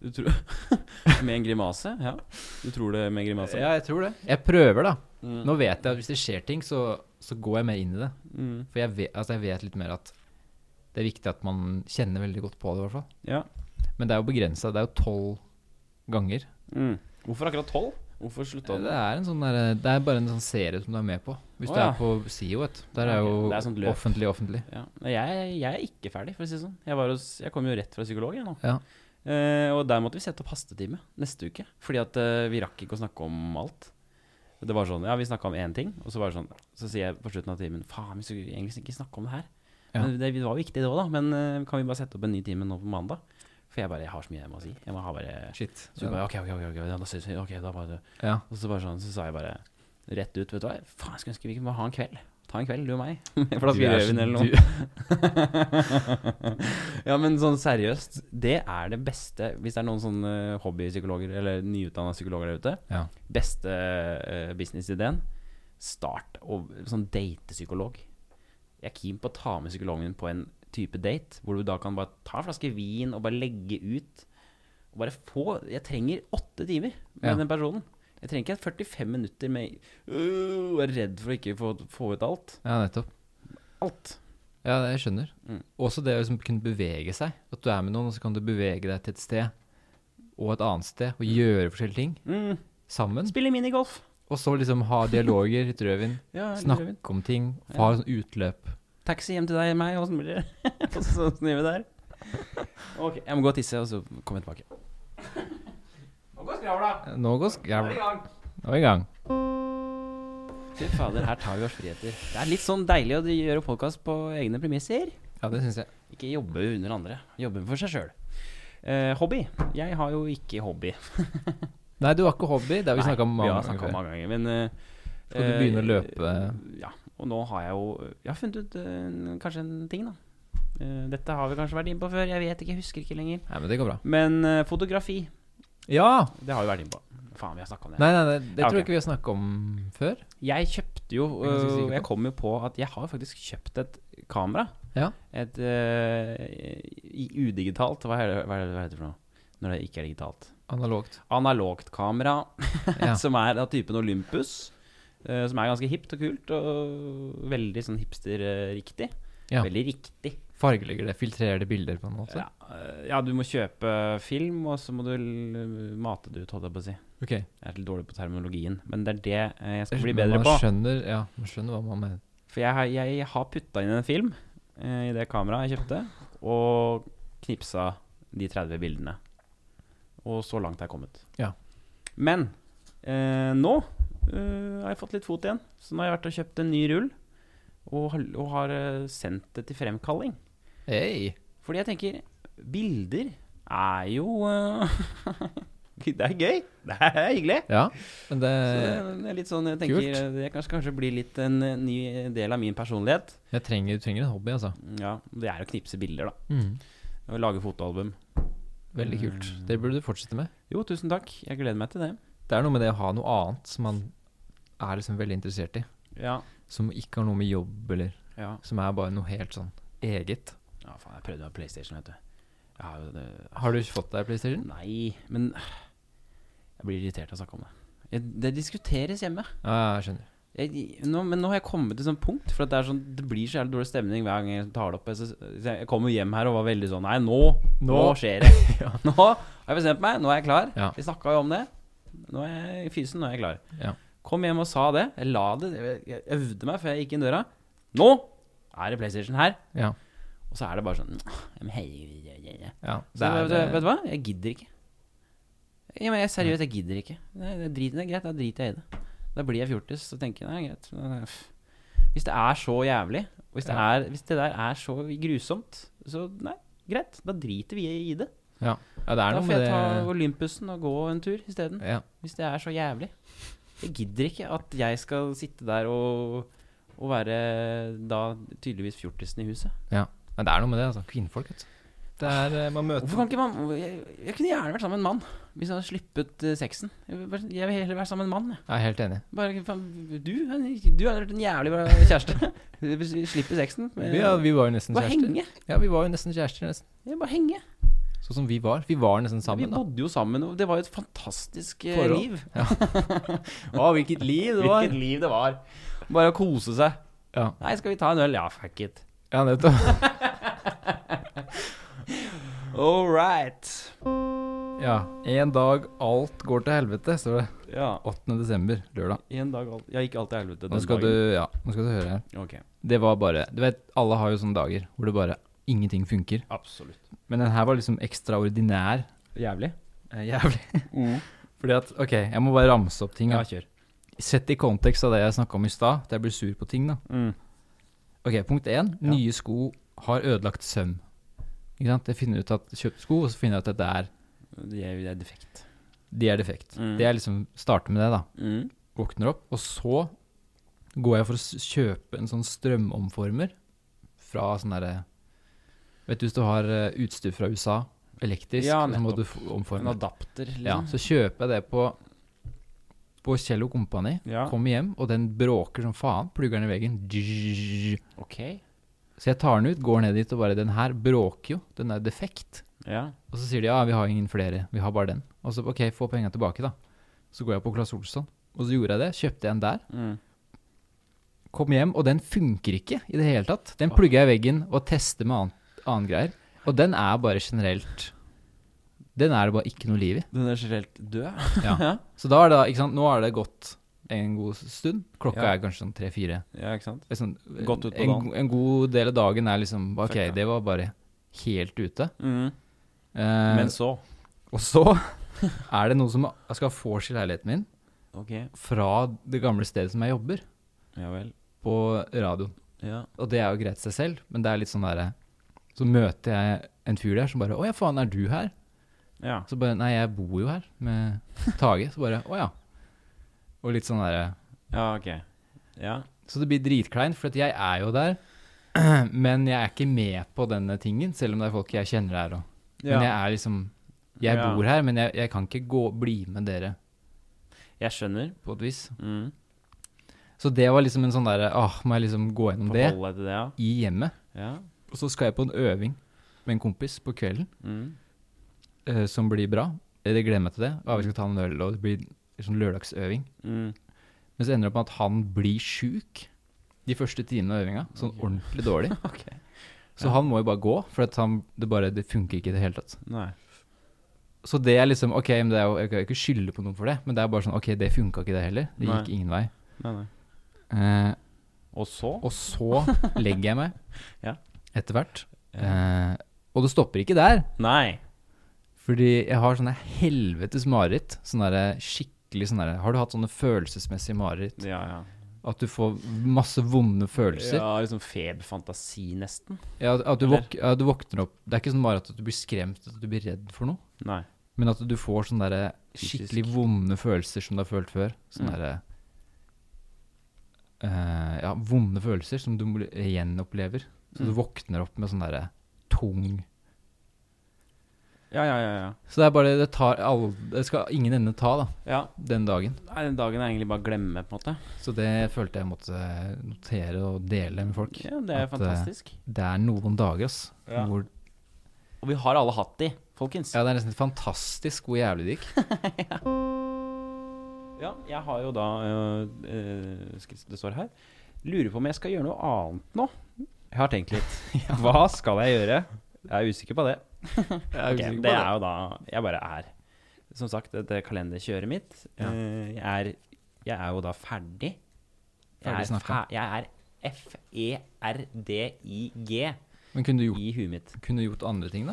Du tror Med en grimase? Ja. Du tror det med en grimase?
jeg tror det. Jeg prøver, da.
Mm.
Nå vet jeg at hvis det skjer ting, så, så går jeg mer inn i det.
Mm.
For jeg vet, altså jeg vet litt mer at det er viktig at man kjenner veldig godt på det, i hvert fall.
Ja.
Men det er jo begrensa. Det er jo tolv ganger.
Mm. Hvorfor akkurat tolv? Hvorfor slutta du?
Det er, en sånn der, det er bare en sånn serie som du er med på. Hvis
Å,
du
ja.
er på SIO, vet du. Der er
Ok,
jo
det er sånt løp.
offentlig, offentlig.
Ja. Nei, Jeg, jeg er ikke ferdig, for å si det sånn. Jeg, var hos, jeg kom jo rett fra psykolog, jeg nå.
Ja.
Eh, og der måtte vi sette opp hastetime neste uke. Fordi at eh, vi rakk ikke å snakke om alt. Det var sånn, ja, Vi snakka om én ting, og så var det sånn Så sier jeg på slutten av timen Faen, vi skulle egentlig ikke snakke om det her.
Ja.
Men det, det var viktig, det òg, da. Men eh, kan vi bare sette opp en ny time nå på mandag? For jeg bare jeg har så mye jeg må si. Jeg må ha bare
Shit.
Så hun bare OK, OK, ok, ok, ja, da ses vi. Ok, da bare
Ja.
og så bare sånn, så sa jeg bare rett ut, vet du hva, faen, jeg skulle ønske vi kunne bare ha en kveld. Ta en kveld, du og meg. Med en flaske
Du er så-
rødvin eller
du-
noe. ja, men sånn seriøst, det er det beste, hvis det er noen sånne hobbypsykologer, eller nyutdannet psykologer der ute,
Ja.
beste eh, businessideen, start og sånn datepsykolog. Jeg er keen på å ta med psykologen min på en type date, hvor du da kan bare ta en flaske vin og bare legge ut. Og bare få Jeg trenger åtte timer med
Ja.
den personen. Jeg trenger ikke 45 minutter med øh, og er redd for å ikke få, få ut alt.
ja, nettopp.
Alt.
Ja, det- jeg skjønner.
Mm.
Også det å liksom kunne bevege seg. At du er med noen, og så kan du bevege deg til et sted og et annet sted, og gjøre forskjellige ting
Mm.
sammen.
Spille minigolf.
Og så liksom ha dialoger, litt rødvin,
Ja, Snakk.
snakke om ting, ha sånn utløp.
Taxi hjem til deg og meg, åssen blir det? Og så snur vi der. Ok, jeg må gå og tisse, og så kommer jeg tilbake. Nå går skravla.
Nå går sk... Ja, nå er vi i gang.
Fy fader, her tar vi oss friheter. Det er litt sånn deilig å gjøre podkast på egne premisser.
Ja, det syns jeg.
Ikke jobbe under andre. Jobbe for seg sjøl. Eh, hobby. Jeg har jo ikke hobby.
Nei, du har ikke hobby. Det har vi
Nei,
snakka om mange
har
ganger.
snakket om
før.
mange ganger. Men eh,
Skal du
eh,
begynne å løpe?
Ja. Og nå har jeg jo Jeg har funnet ut eh, en- kanskje en ting, da. Eh, dette har vi kanskje vært inne på før. Jeg vet ikke, jeg husker ikke lenger.
Nei, men det går bra.
Men eh, fotografi,
Ja!
det har vi vært inne på. Faen, vi har snakka om det.
Nei, nei, nei det
Ja,
tror
ok.
jeg ikke vi har snakka om før.
Jeg kjøpte jo
Det er jeg ganske sikker
øh,
på.
Jeg kom jo på at jeg har faktisk kjøpt et kamera.
Ja.
Et øh, i- udigitalt Hva er det hva er det det heter for noe? Når det ikke er digitalt.
Analogt.
Analogt kamera,
Ja.
som er av typen Olympus. øh, som er ganske hipt og kult, og veldig sånn hipster-riktig.
Ja.
Veldig riktig.
Fargelegger det, filtrerer det bilder på en måte.
Ja, øh, ja, du må kjøpe film, og så må du l- mate det ut, holdt jeg på å si.
Ok.
Jeg er litt dårlig på terminologien, men det er det øh, jeg skal bli
Men
bedre
man
på.
Skjønner, ja, man skjønner hva man mener.
For jeg, har- jeg har putta inn en film eh, i det kameraet jeg kjøpte, og knipsa de 30 bildene. Og så langt er jeg kommet.
Ja.
Men eh, nå eh, har jeg fått litt fot igjen, så nå har jeg vært og kjøpt en ny rull. Og, har- og har eh, sendt det til fremkalling.
Hei!
Fordi jeg tenker Bilder er jo eh, Det er gøy! Det er hyggelig!
Ja, men det
Så det det er litt sånn, jeg tenker
Eh, kult.
Det kanskje, kanskje blir litt en eh, ny del av min personlighet.
jeg trenger, Du trenger en hobby, altså.
Ja, det er å knipse bilder, da.
Mm.
Og lage fotoalbum.
Veldig kult. Det burde du fortsette med.
Jo, tusen takk. Jeg gleder meg til det.
Det er noe med det å ha noe annet som man er liksom veldig interessert i.
Ja.
Som ikke har noe med jobb eller
Ja,
Som er bare noe helt sånn eget.
ja faen, jeg prøvde meg på PlayStation, vet du. Jeg har jo det
Har du ikke fått deg PlayStation?
Nei, men Jeg blir irritert av å snakke om det. Jeg, det diskuteres hjemme.
Ja, jeg skjønner.
Jeg, nå, men nå har jeg kommet til sånn punkt, for at det, er sånn, det blir så jævlig dårlig stemning hver gang jeg tar det opp. Jeg, så, så jeg kom jo hjem her og var veldig sånn Nei, nå, nå.
Nå.
skjer det. Nå har jeg bestemt meg, nå er jeg klar.
Ja.
Vi snakka jo om det. Nå er jeg i fysen, nå er jeg klar.
Ja.
Kom hjem og sa det. Jeg la det Jeg, jeg øvde meg før jeg gikk inn døra. Nå er det PlayStation her.
Ja.
Og så er det bare sånn «Ja, men hei, ja, ja, ja».
ja
Så
det er, eh,
vet, du- vet du hva? Jeg gidder ikke. Ja, men jeg, seriøst, jeg gidder ikke. Nei, det, er drit, det er greit, da driter jeg i det. Da blir jeg fjortis og tenker jeg, nei, greit. Nei, nei, pff. Hvis det er så jævlig, og hvis det,
Ja.
er, hvis det der er så grusomt, så nei, greit. Da driter vi i det.
ja, det er
Da
noe
får
med
jeg ta
det
Olympusen og gå en tur isteden.
ja.
Hvis det er så jævlig. Jeg gidder ikke at jeg skal sitte der og, å være da tydeligvis fjortisen i huset.
Men det er noe med det, altså. Kvinnfolk, vet du. Det er, eh, man møter
Hvorfor kan ikke man Jeg, jeg kunne gjerne vært sammen med en mann, hvis jeg hadde sluppet eh, sexen. Jeg vil bare- jeg vil heller være sammen med en mann, jeg.
Jeg er helt enig.
Bare faen, du, han- du hadde vært en jævlig bra kjæreste. Hvis vi slipper sexen. men-
Ja, vi var jo nesten
bare
kjærester.
henge.
Ja, vi var jo nesten kjærester, nesten.
Ja, bare henge.
Sånn som vi var. Vi var nesten
vi
sammen, da.
bodde jo sammen, og det var jo et fantastisk eh,
Forhold.
liv.
Å, hvilket liv
Hvilket liv det var. Bare å kose seg.
Ja.
Nei, skal vi ta en øl? Ja, fuck it.
Ja, nettopp.
All right.
Ja. En dag alt går til helvete, står det.
Ja.
8. desember, lørdag.
En dag alt Jeg gikk alltid til helvete den
Nå skal du,
dagen.
ja, nå skal du høre her.
Ok,
Det var bare Du vet, alle har jo sånne dager hvor det bare ingenting funker.
absolutt.
Men den her var liksom ekstraordinær.
Jævlig.
Eh, jævlig.
Mm.
Fordi at OK, jeg må bare ramse opp ting.
Ja,
da.
kjør.
Sett i kontekst av det jeg snakka om i stad, at jeg blir sur på ting, da.
Mm.
Ok, punkt én.
Ja.
Nye sko har ødelagt søm. Ikke sant? Jeg finner ut at kjøpt sko, og så finner jeg ut at det er,
Det er, det er defekt.
de er defekt.
Mm.
Det er liksom Starte med det, da.
Mm.
Våkner opp, og så går jeg for å s- kjøpe en sånn strømomformer fra sånn derre Vet du, hvis du har eh, utstyr fra USA, elektrisk,
Ja,
så må
nettopp.
du f-
En
omforme.
adapter, liksom.
Ja, så kjøper jeg det på på Kjell og Kompani.
Ja.
Kommer hjem, og den bråker som faen. Plugger den i veggen.
Ok.
Så jeg tar den ut, går ned dit og bare Den her bråker jo, den er defekt.
Ja.
Og så sier de ja, vi har ingen flere, vi har bare den. Og så ok, få penga tilbake, da. Så går jeg på Claes Olsson, og så gjorde jeg det. Kjøpte en der.
Mm.
Kom hjem, og den funker ikke i det hele tatt. Den
Åh.
plugger jeg i veggen og tester med annen, annen greier. Og den er bare generelt Den er det bare ikke noe liv i.
Den er generelt død.
Ja. Så da er det, ikke sant, nå har det gått en god stund. Klokka
Ja.
er kanskje sånn tre-fire.
Ja, ikke sant?
Liksom,
Godt ut på
en,
dagen.
en god del av dagen er liksom OK,
Fucka.
det var bare helt ute. Eh,
Mm. Men så
og så er det noen som skal vors i leiligheten min
Ok,
fra det gamle stedet som jeg jobber,
ja vel.
på radioen.
Ja.
Og det er jo greit i seg selv, men det er litt sånn derre Så møter jeg en fyr der som bare 'Å ja, faen, er du her?'
ja.
Så bare 'Nei, jeg bor jo her med Tage'. Så bare 'Å ja'. Og litt sånn derre
Ja, ok. Ja.
Så det blir dritkleint, for at jeg er jo der. Men jeg er ikke med på denne tingen, selv om det er folk jeg kjenner her. Og. Men jeg er liksom Jeg
Ja.
bor her, men jeg, jeg kan ikke gå, bli med dere
Jeg skjønner.
på et vis.
Mm.
Så det var liksom en sånn derre Åh, må jeg liksom gå gjennom det
Forholde deg til det, ja.
i hjemmet?
ja.
Og så skal jeg på en øving med en kompis på kvelden,
Mm.
eh, som blir bra. Jeg gleder meg til det. Og vi skal ta en øl, og det blir en sånn lørdagsøving.
Mm.
Men så ender det opp med at han blir sjuk de første timene av øvinga. Sånn
Ok.
ordentlig dårlig.
Ok.
Så han må jo bare gå, for at han, det, bare, det funker ikke i det hele tatt.
Nei.
Så det er liksom Ok, men det er jo, jeg kan jo ikke skylde på noen for det, men det er bare sånn Ok, det funka ikke, det heller. Det
Nei.
gikk ingen vei.
Nei, nei.
Eh,
Og så?
og så legger jeg meg
Ja.
etter hvert. Eh, og det stopper ikke der,
Nei.
fordi jeg har sånne helvetes mareritt. Sånne der eh, skikkelig sånne der, Har du hatt sånne følelsesmessige mareritt?
Ja, ja.
At du får masse vonde følelser?
Ja, liksom feberfantasi, nesten.
Ja, at- at du,
Eller?
våk, ja, du våkner opp Det er ikke sånn mareritt at du blir skremt, at du blir redd for noe.
Nei.
Men at du får sånne der eh, skikkelig
Fysisk.
vonde følelser som du har følt før. Sånne
Mm.
der, eh, Ja, vonde følelser som du må- eh, gjenopplever. Så du
Mm.
våkner opp med sånn derre tung
Ja, ja, ja. ja.
Så det er bare Det tar all, Det skal ingen ende ta, da,
ja.
den dagen.
Nei, den dagen er egentlig bare å glemme, på en måte.
Så det følte jeg måtte eh, notere og dele med folk.
Ja, Det er
At, eh,
fantastisk.
Det er noen dager, ass.
Ja.
Hvor,
Og vi har alle hatt de, folkens.
ja, det er nesten fantastisk hvor jævlig det gikk.
Ja, jeg har jo da øh, øh, skal- Det står her. Lurer på om jeg skal gjøre noe annet nå. Jeg har tenkt litt. Hva skal jeg gjøre? Jeg er usikker på det.
Jeg
Ok,
usikker på
det er jo da Jeg bare er. Som sagt, dette kalenderkjøret mitt.
Ja.
eh, jeg, er, jeg er jo da ferdig. Jeg
Ferdig
er,
snakka.
fe- jeg er E F-E-R-D-I-G
Men kunne du gjort,
i huet mitt.
kunne du gjort andre ting, da?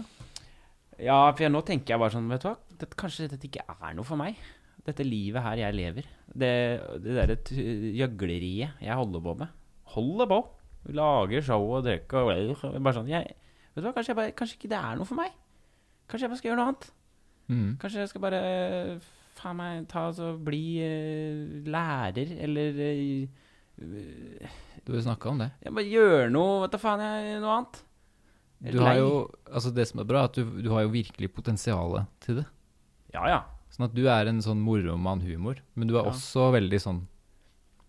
Ja, for jeg, nå tenker jeg bare sånn, vet du hva dette, Kanskje dette ikke er noe for meg. Dette livet her jeg lever. Det, det derre t- gjøgleriet jeg holder på med. Holder på! Lager show og drikker og Bare sånn jeg, Vet du hva, kanskje, jeg bare, kanskje ikke det er noe for meg. Kanskje jeg bare skal gjøre noe annet.
Mm.
Kanskje jeg skal bare faen meg ta og så bli eh, lærer, eller eh,
Du har jo snakka om det.
Jeg bare gjør noe Vet da faen, jeg noe annet. Jeg er
Du har
lei.
jo, altså det som er bra, er at du, du har jo virkelig potensialet til det.
Ja, ja.
Sånn at du er en sånn moromann-humor, men du er
Ja.
også veldig sånn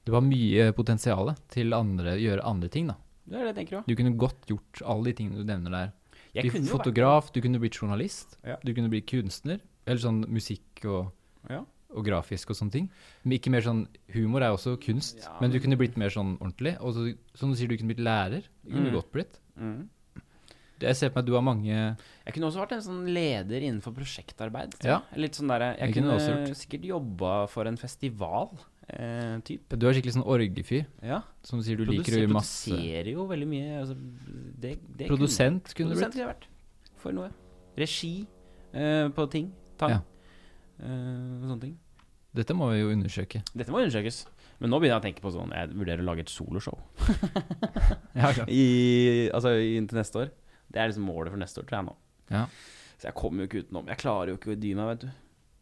Du har mye potensial til andre, gjøre andre ting, da.
Det er det jeg tenker òg.
Du kunne godt gjort alle de tingene du nevner der.
Jeg
Bli
kunne jo vært
fotograf, du kunne blitt journalist,
Ja.
du kunne blitt kunstner, eller sånn musikk og,
Ja.
og grafisk og sånne ting. Men ikke mer sånn Humor er også kunst,
Ja,
men du
men-
kunne blitt mer sånn ordentlig. Og så, som du sier, du kunne blitt lærer. Du kunne
Mm.
godt blitt.
mm.
Jeg ser på meg at du har mange
Jeg kunne også vært en sånn leder innenfor prosjektarbeid. tror
Ja.
jeg. Litt sånn der, jeg
Det kunne
kunne,
du også gjort.
sikkert jobba for en festival. Eh, typ.
Du er skikkelig sånn orgefyr,
Ja.
som du sier du liker å gjøre masse
Produserer jo veldig mye. Altså, det, det
Produsent
kunne,
kunne du
produsent
blitt.
kunne jeg vært. For noe. Regi eh, på ting. Tang.
Ja.
Eh, sånne ting.
Dette må vi jo undersøke.
Dette må undersøkes. Men nå begynner jeg å tenke på sånn Jeg vurderer å lage et soloshow
Ja,
I- altså, inntil neste år. Det er liksom målet for neste år, tror jeg nå.
Ja.
Så jeg kommer jo ikke utenom. Jeg klarer jo ikke å dy meg, vet du.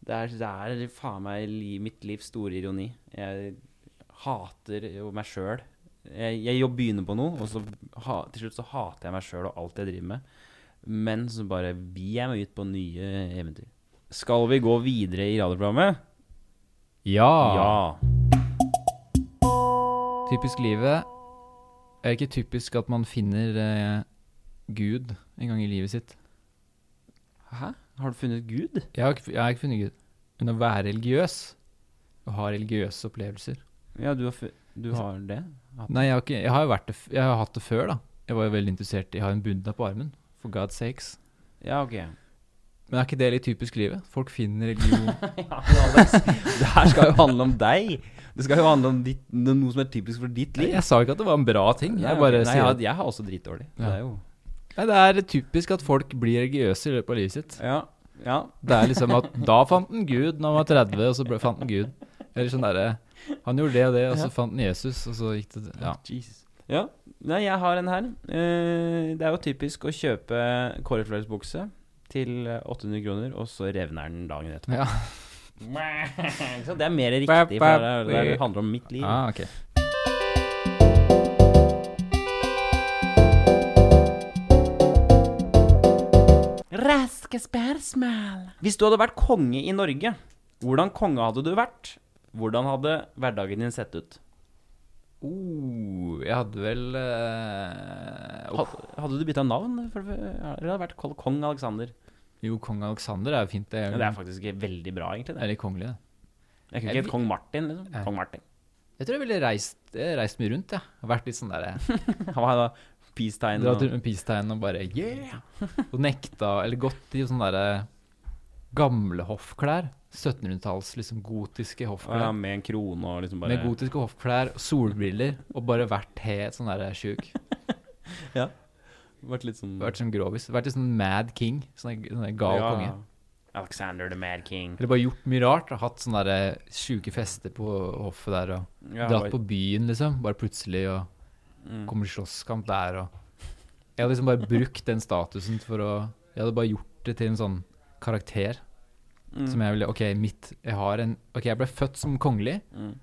Det er, det er faen meg li, mitt livs store ironi. Jeg hater jo meg sjøl. Jeg, jeg jobb- begynner på noe, og så ha, til slutt så hater jeg meg sjøl og alt jeg driver med. Men så bare bier jeg meg ut på nye eventyr. Skal vi gå videre i radioprogrammet? Ah. Ja.
Typisk livet er ikke typisk at man finner eh, Gud en gang i livet sitt.
Hæ? Har du funnet Gud?
Jeg har, ikke, jeg har ikke funnet Gud. Men å være religiøs og ha religiøse opplevelser
Ja, du har, fu- du har det?
Nei, jeg har, ikke, jeg har jo vært det, f- jeg har hatt det før, da. Jeg var jo veldig interessert i å ha en buddha på armen. For God's sakes.
Ja, ok.
Men er ikke det litt typisk livet? Folk finner religion
Ja, men Alex, det her skal jo handle om deg. Det skal jo handle om ditt, noe som er typisk for ditt
Nei,
liv.
Jeg sa ikke at det var en bra ting.
Nei,
Jeg
ok.
bare
Nei,
sier
jeg,
at
jeg har også dritdårlig. Det
Ja.
er jo
Nei, det er typisk at folk blir religiøse i løpet av livet sitt.
Ja. ja.
Det er liksom at da fant han Gud når han var 30, og så ble, fant han Gud. Eller sånn derre Han gjorde det og det, og så fant han Jesus, og så gikk det Ja.
Jesus. Ja. Nei, jeg har en her. Eh, det er jo typisk å kjøpe cornflakesbukse til 800 kroner, og så revner den dagen etterpå.
ja.
Så det er mer riktig, for det, er, det handler om mitt liv.
Ah, ok.
Raske spørsmål. Hvis du hadde vært konge i Norge, hvordan konge hadde du vært? Hvordan hadde hverdagen din sett ut?
Oh, jeg hadde vel eh, oh.
Hadde, hadde du bytta navn? For, eller hadde det vært kol- kong Alexander?
Jo, kong Alexander er jo fint. Det er,
Ja,
jo-
det er faktisk ikke veldig bra, egentlig.
det er
Det.
litt kongelig, det.
Jeg kunne
jeg
ikke hett kong Martin, liksom.
Nei.
Kong Martin.
Jeg tror jeg ville reist, jeg har reist mye rundt, jeg. Ja. Vært litt sånn derre
Han var da peace-tegn
Dratt
og
rundt med peace-tegn og bare yeah! Og nekta, eller gått i sånne derre gamle hoffklær. 1700-talls liksom
og
gotiske
ja,
hoffklær.
med en krone og liksom bare
Med gotiske hoffklær, solbriller, og bare vært helt sånn derre sjuk.
Vært litt sånn
Vært som grovis. Vært litt sånn mad king. Sånn der- sånn der gal
Ja.
konge.
Alexander the Mad King.
Eller bare gjort mye rart. og Hatt sånne derre sjuke fester på hoffet der. og
Ja,
Dratt
bare-
på byen, liksom. Bare plutselig, og
Mm.
kommer til slåsskamp der, og Jeg hadde liksom bare brukt den statusen for å Jeg hadde bare gjort det til en sånn karakter
Mm.
som jeg ville OK, mitt Jeg har en OK, jeg ble født som kongelig.
Mm.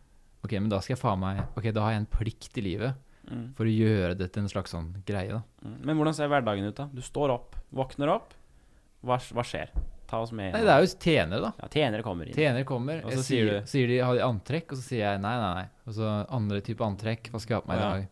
OK, men da skal jeg faen meg OK, da har jeg en plikt i livet
Mm.
for å gjøre det til en slags sånn greie, da.
Mm. Men hvordan ser hverdagen ut, da? Du står opp, våkner opp. Hva, hva skjer? Ta oss med
Nei, det er jo tjenere, da.
Ja, tjenere kommer inn.
Tjenere kommer,
Og
jeg
så
sier,
sier du-
sier de har de antrekk, og så sier jeg nei, nei, nei. Og så andre type antrekk, hva skal jeg ha på meg i
Ja.
dag?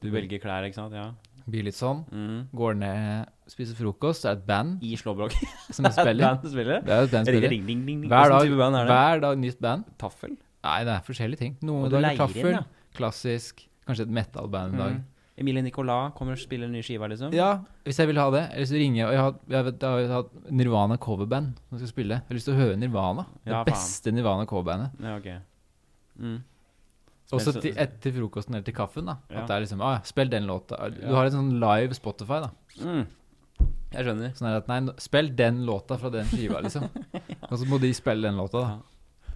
Du velger klær, ikke sant? Ja.
Blir litt sånn.
Mm.
Går ned, spiser frokost, det er et band
I slåbrok.
som spiller.
Band spiller.
Det er jo et band som spiller.
Ring, ring, ring, ring.
Hver
Hvordan
dag,
type band er det?
hver dag nytt band.
Taffel?
Nei, det er forskjellige ting.
Og
Noen
du
dager
leier inn,
taffel,
ja.
klassisk, kanskje et metal-band en dag.
Mm. Emilie Nicolas kommer og spiller en ny skive, liksom?
Ja, hvis jeg vil ha det. Eller så ringer jeg og jeg har, jeg vet, jeg har hatt Nirvana coverband som skal spille. Jeg har lyst til å høre Nirvana. Det
Ja, faen.
beste Nirvana coverbandet.
Ja, ok. Mm.
Og så
Spill-
til- etter frokosten eller til kaffen, da.
Ja.
At det er liksom ah, ja, spill den låta. Du
Ja.
har et sånn live Spotify, da.
Mm. Jeg skjønner.
Sånn er det at nei, nå- spill den låta fra den skiva, liksom. Og så må de spille den låta, da.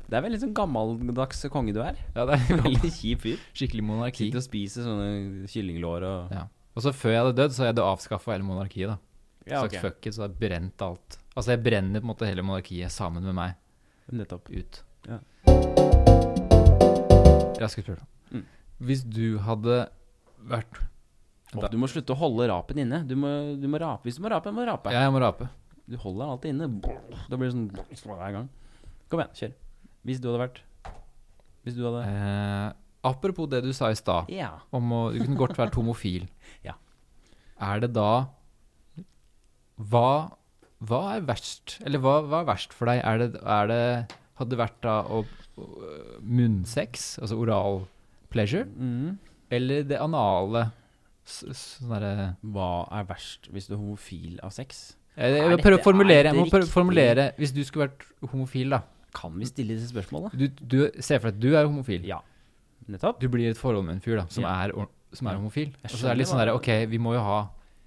Det er veldig sånn gammeldags konge du er.
Ja, det er
Veldig kjip fyr.
skikkelig monarki.
Sitter og spiser sånne kyllinglår og
Ja. Og så før jeg hadde dødd, så hadde jeg avskaffa hele monarkiet, da.
Ja,
Sagt fuck it, så jeg brent alt. Altså, jeg brenner på en måte hele monarkiet sammen med meg.
Nettopp.
ut.
Ja.
Raske spørsmål.
Mm.
Hvis du hadde vært
Og du må slutte å holde rapen inne. Du må, du må rape. Hvis du må rape, må du rape.
Ja, jeg må rape.
Du holder den alltid inne. Da blir det sånn hver gang. Kom igjen, kjør. Hvis du hadde vært Hvis du hadde
Eh, apropos det du sa i stad,
Ja.
om å Du kunne godt vært homofil.
Ja.
Er det da Hva Hva er verst? Eller hva, hva er verst for deg? Er det, er det Hadde det vært da å, å munnsex, altså oral pleasure,
Mm.
eller det anale s- s- Sånn derre
Hva er verst hvis du er homofil av sex?
Jeg,
Er
jeg må prøve
dette-
å formulere,
er
jeg må
dette
prøve å
riktig?
formulere Hvis du skulle vært homofil, da
Kan vi stille disse spørsmålene?
Du, du ser for deg at du er homofil.
Ja. Nettopp.
Du blir i et forhold med en fyr da som,
Ja.
er, or- som er
Ja.
homofil.
Jeg
Og så er det litt sånn
skjønner
der
hva-
Ok, vi må jo ha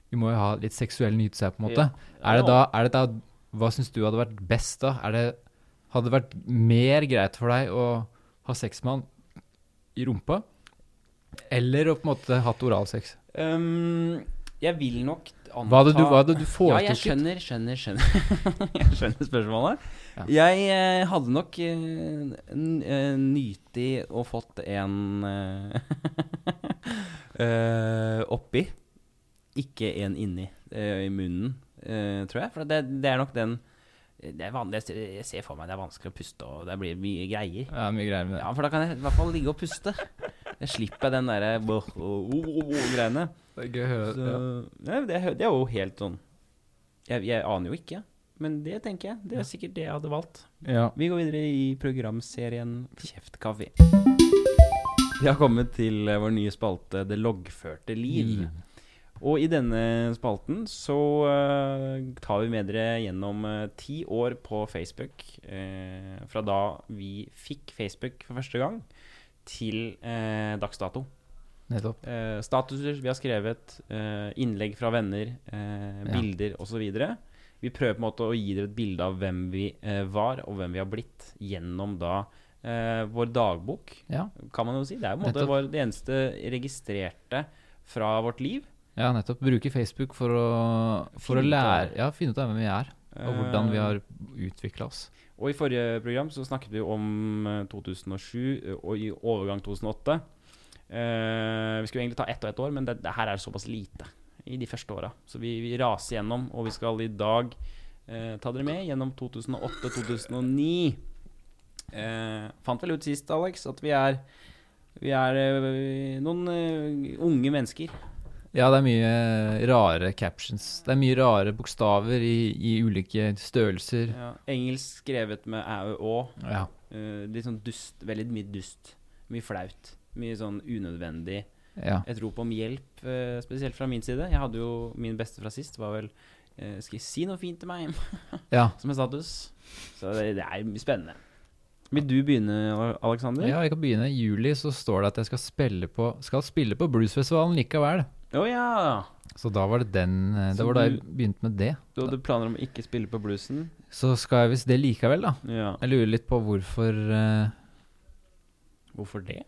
Vi må jo ha litt seksuell nytelse her, på en måte.
Ja.
Er det da, er det da Hva syns du hadde vært best, da? Er det, hadde det vært mer greit for deg å ha sex med han i rumpa? Eller å på en måte hatt oralsex?
Øhm, Ehm, jeg vil nok anta
Hva hadde du, hva hadde du
Ja, jeg
foretrukket?
skjønner, skjønner, skjønner. jeg skjønner spørsmålet. Jeg eh, hadde nok eh, n- eh, nytig og fått en eh, eh, oppi, ikke en inni eh, i munnen, eh, tror jeg. For det, det er nok den det er vanlig, jeg ser- Jeg ser for meg det er vanskelig å puste, og det blir mye greier.
Ja, mye greier med det.
Ja, for da kan jeg i hvert fall ligge og puste. Jeg slipper den derre greiene.
Det er gøy å høre.
Så,
Ja.
nei, det, er, hø- det er jo helt sånn jeg, jeg aner jo ikke, men det tenker jeg. Det er sikkert det jeg hadde valgt.
Ja.
Vi går videre i programserien Kjeft kaffe. Vi har kommet til eh, vår nye spalte Det loggførte liv.
Liv.
Og i denne spalten så eh, tar vi med dere gjennom eh, ti år på Facebook. eh, fra da vi fikk Facebook for første gang, til eh, dags dato.
Nettopp.
Eh, statuser vi har skrevet, eh, innlegg fra venner, eh,
Ja.
bilder osv. Vi prøver på en måte å gi dere et bilde av hvem vi eh, var, og hvem vi har blitt, gjennom da eh, vår dagbok,
Ja.
kan man jo si. Det er jo på en måte
Nettopp.
vår, det eneste registrerte fra vårt liv.
ja, nettopp. Bruke Facebook for å, for å
Finne ut av-
lære Ja, finne ut av hvem vi er, og hvordan vi har utvikla oss.
Og i forrige program så snakket vi om eh, 2007 eh, og i overgang 2008. Eh, vi skulle egentlig ta ett og ett år, men det, det her er såpass lite i de første åra. Så vi, vi raser gjennom, og vi skal i dag eh, ta dere med gjennom 2008-2009. Eh, fant vel ut sist, Alex, at vi er, vi er eh, noen eh, unge mennesker.
Ja, det er mye rare captions. Det er mye rare bokstaver i, i ulike størrelser.
Ja, engelsk skrevet med æ og å.
Ja.
Eh, litt sånn dust. Veldig mye dust. Mye flaut. Mye sånn unødvendig.
ja.
et rop om hjelp, eh, spesielt fra min side. Jeg hadde jo min beste fra sist, var vel eh, Skal jeg si noe fint til meg?
ja.
Som en status. Så det, det er spennende. Vil du begynne, Aleksander?
Ja, jeg kan begynne. I juli så står det at jeg skal spille på, skal spille på bluesfestivalen likevel.
Å ja!
Så da var det den eh, Det
Så
var da jeg
du-
begynte med det.
Du hadde planer om å ikke spille på bluesen?
Så skal jeg visst det likevel, da.
Ja.
Jeg lurer litt på hvorfor eh,
Hvorfor det?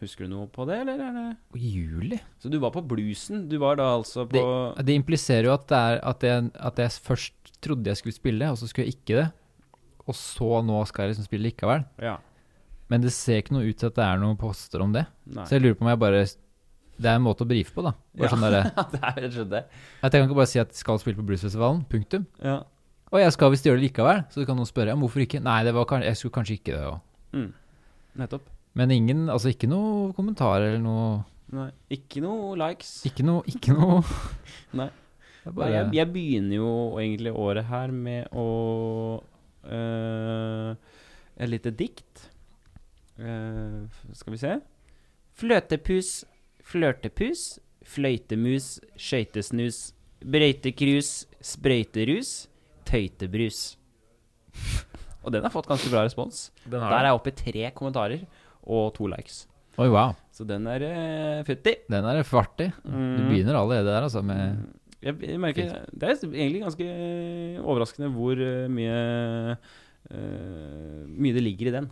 Husker du noe på det, eller er det
i juli?
Så du var på bluesen? Du var da altså på
Det, det impliserer jo at, det er, at, jeg, at jeg først trodde jeg skulle spille, og så skulle jeg ikke det. Og så nå skal jeg liksom spille likevel.
Ja.
Men det ser ikke noe ut til at det er noen poster om det.
Nei.
Så jeg lurer på om jeg bare Det er en måte å brife på, da.
Ja.
Bare sånn derre
det er rett og slett det.
At jeg kan ikke bare si at jeg skal spille på bluesfestivalen, punktum.
Ja.
Og jeg skal visst gjøre det likevel, så kan noen spørre ja, men hvorfor ikke. Nei, det var kan- jeg skulle kanskje ikke det. Og.
Mm. Nettopp.
Men ingen, altså ikke noe kommentar eller noe
Nei. Ikke noe likes.
Ikke noe, ikke noe.
Nei.
Det er
Nei,
bare
jeg, jeg begynner jo egentlig året her med å øh, Et lite dikt. Eh, f- skal vi se. Fløtepus, flørtepus, fløytemus, skøytesnus, brøytekrus, sprøyterus, tøytebrus. Og den har fått ganske bra respons. Der er jeg oppe i tre kommentarer og to likes.
Oi, wow.
Så den er uh, fytti.
Den er fart i. Du
Mm.
begynner allerede der, altså, med
Eh, Jeg, jeg merker, det er egentlig ganske eh, overraskende hvor eh, mye eh, Mye det ligger i den.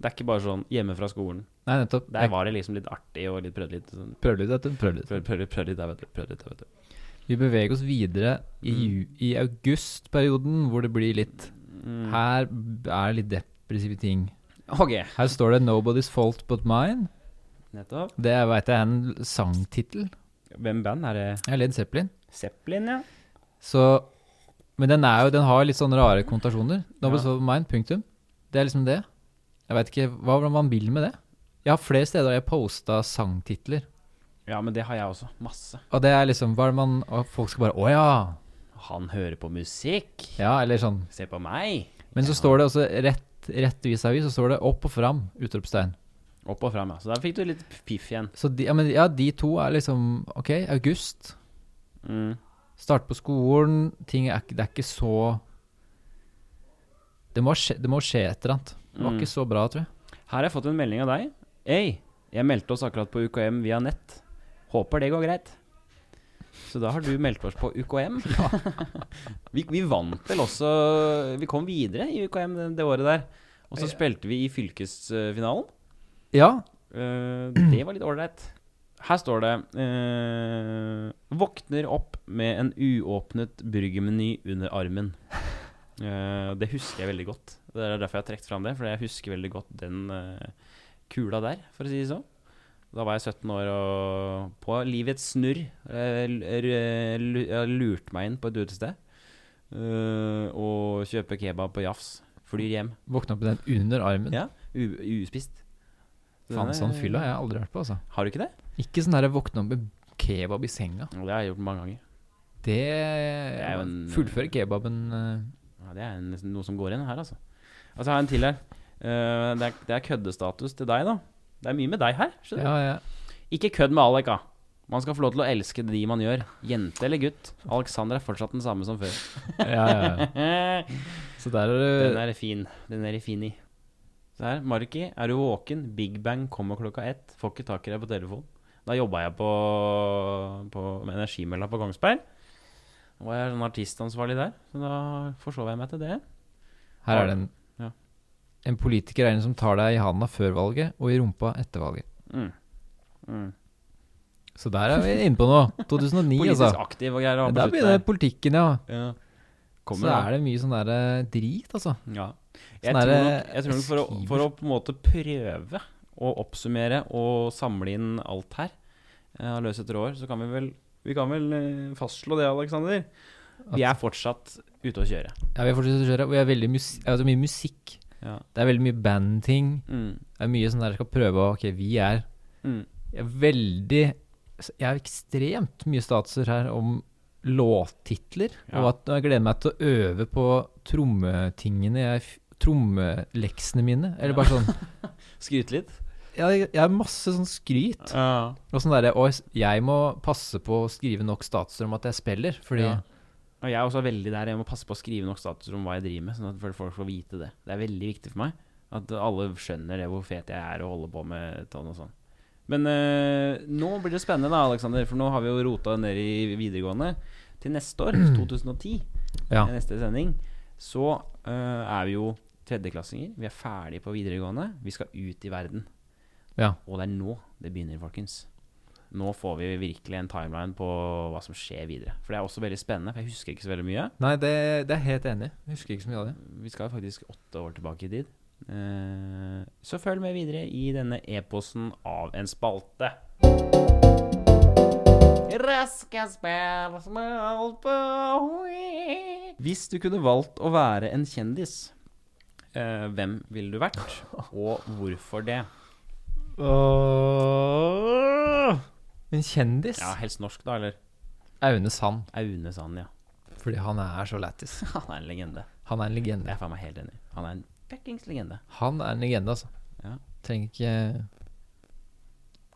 Det er ikke bare sånn hjemme fra skolen.
Nei, nettopp.
Der
Jeg
var det liksom litt artig og litt prøvde litt sånn.
prøvde litt, vet du. Prøvde litt.
Prøvde, prøvde, prøvde litt der, vet du. Prøvde litt der, vet du.
Vi beveger oss videre i,
Mm.
ju- i augustperioden, hvor det blir litt
Mm.
Her b- er litt depressive ting.
Ok.
Her står det 'Nobody's fault but mine'.
Nettopp.
Det veit jeg er en sangtittel.
Hvem band er det?
Jeg har Led Zeppelin.
Zeppelin, ja.
Så Men den, er jo, den har litt sånne rare konnotasjoner. Double
Ja.
Soul Mind, punktum. Det er liksom det. Jeg veit ikke hva hvordan man vil med det. Jeg har flere steder jeg har posta sangtitler.
Ja, men det har jeg også. Masse.
Og det er liksom hva er det man Og folk skal bare Å ja!
Han hører på musikk.
Ja, eller sånn.
Se på meg.
Men så står det også rett, rett vis-à-vis, så står det opp og fram, utropstegn.
Opp og fram, ja. Så der fikk du litt piff igjen.
Så de, ja, men, ja, de to er liksom Ok, august.
Mm.
Start på skolen. Ting er, ikke- det er ikke så Det må skje, det må skje et eller annet. Det var
Mm.
ikke så bra, tror jeg.
Her har jeg fått en melding av deg. Hei, jeg meldte oss akkurat på UKM via nett. Håper det går greit. Så da har du meldt oss på UKM. vi, vi vant vel også Vi kom videre i UKM det, det året der. Og så spilte vi i fylkesfinalen.
Ja.
Eh, det var litt ålreit. Her står det eh, 'Våkner opp med en uåpnet burgermeny under armen'. Eh, det husker jeg veldig godt. Det er derfor jeg har trukket fram det. For jeg husker veldig godt den eh, kula der, for å si det sånn. Da var jeg 17 år og på livets snurr. eh, l- r- lu- Jeg lurte meg inn på et utested eh, og kjøpe kebab på Jafs. Flyr hjem.
Våkna opp med den under armen.
Ja, u uspist.
Faen, sånn fyll har jeg aldri vært på, altså.
Har du ikke det?
Ikke sånn derre våkne opp med kebab i senga.
Og Det har jeg gjort mange ganger.
Det
er jo en-
Fullføre kebaben eh,
Ja, det er en, noe som går inn her, altså. Altså, jeg har en til her. Eh, det, er, det er køddestatus til deg, da. Det er mye med deg her. skjønner du?
Ja, ja.
Ikke kødd med Alek, da. Man skal få lov til å elske de man gjør. Jente eller gutt. Alexander er fortsatt den samme som før.
ja, ja, ja.
den
Så der er det
er fin. Den er fin i. Se her. Marki, er du våken? Big Bang kommer klokka ett. Får ikke tak i deg på telefon. Da jobba jeg på, på med energimelda på Kongsberg. Da var jeg sånn artistansvarlig der, så da forsov jeg meg til det.
Her er det en
Ja.
En politiker er en som tar deg i handa før valget og i rumpa etter valget.
Mm. Mm.
Så der er vi inne på noe. 2009,
Politisk
altså.
aktiv og greier.
Men
og
Der
på
begynner
slutten
politikken, ja.
der. Ja.
Så er det mye sånn der eh, drit, altså.
Ja. Jeg,
Sånn
tror
der,
nok, jeg tror nok for, å,
skriver.
for å på en måte prøve å oppsummere og samle inn alt her eh, og løse etter år, så kan vi vel, vi kan vel eh, fastslå det, Aleksander. Vi er fortsatt ute å kjøre.
Ja, vi fortsetter å kjøre, og vi er veldig mus altså, mye musikk.
Ja.
Det er veldig mye bandting.
Mm.
Det er mye sånn der jeg skal prøve å Ok, vi er
Mm.
Jeg er veldig Jeg har ekstremt mye statser her om låttitler. Og
Ja.
at jeg gleder meg til å øve på trommetingene jeg f- Trommeleksene mine. Eller bare sånn
Skryte litt.
Jeg, jeg har masse sånn skryt.
Ja.
Og sånn derre Og jeg må passe på å skrive nok statser om at jeg spiller, fordi
Ja. Og jeg er også veldig der. Jeg må passe på å skrive nok status om hva jeg driver med, sånn at folk får vite det. Det er veldig viktig for meg. At alle skjønner det hvor fet jeg er og holder på med sånn og sånn. Men eh, nå blir det spennende, da, Alexander, for nå har vi jo rota ned i videregående. Til neste år, 2010,
Ja.
i neste sending, så eh, er vi jo tredjeklassinger. Vi er ferdige på videregående. Vi skal ut i verden.
Ja.
Og det er nå det begynner, folkens. Nå får vi virkelig en timeline på hva som skjer videre. For det er også veldig spennende, for jeg husker ikke så veldig mye.
Nei, det, det er jeg helt enig i. Jeg Husker ikke så mye av det.
Vi skal faktisk åtte år tilbake i tid. Eh, Så følg med videre i denne eposen av en spalte. Raske spørsmål på Hvis du kunne valgt å være en kjendis, eh, hvem ville du vært, og hvorfor det?
En kjendis?
Ja, Helst norsk, da, eller?
Aune Sand,
Aune Sand, ja.
fordi han er så lættis.
Han er en legende.
Han er en
Det
legende.
er faen meg helt enig. i. Han er en fuckings legende.
Han er en legende, altså.
Ja.
Trenger ikke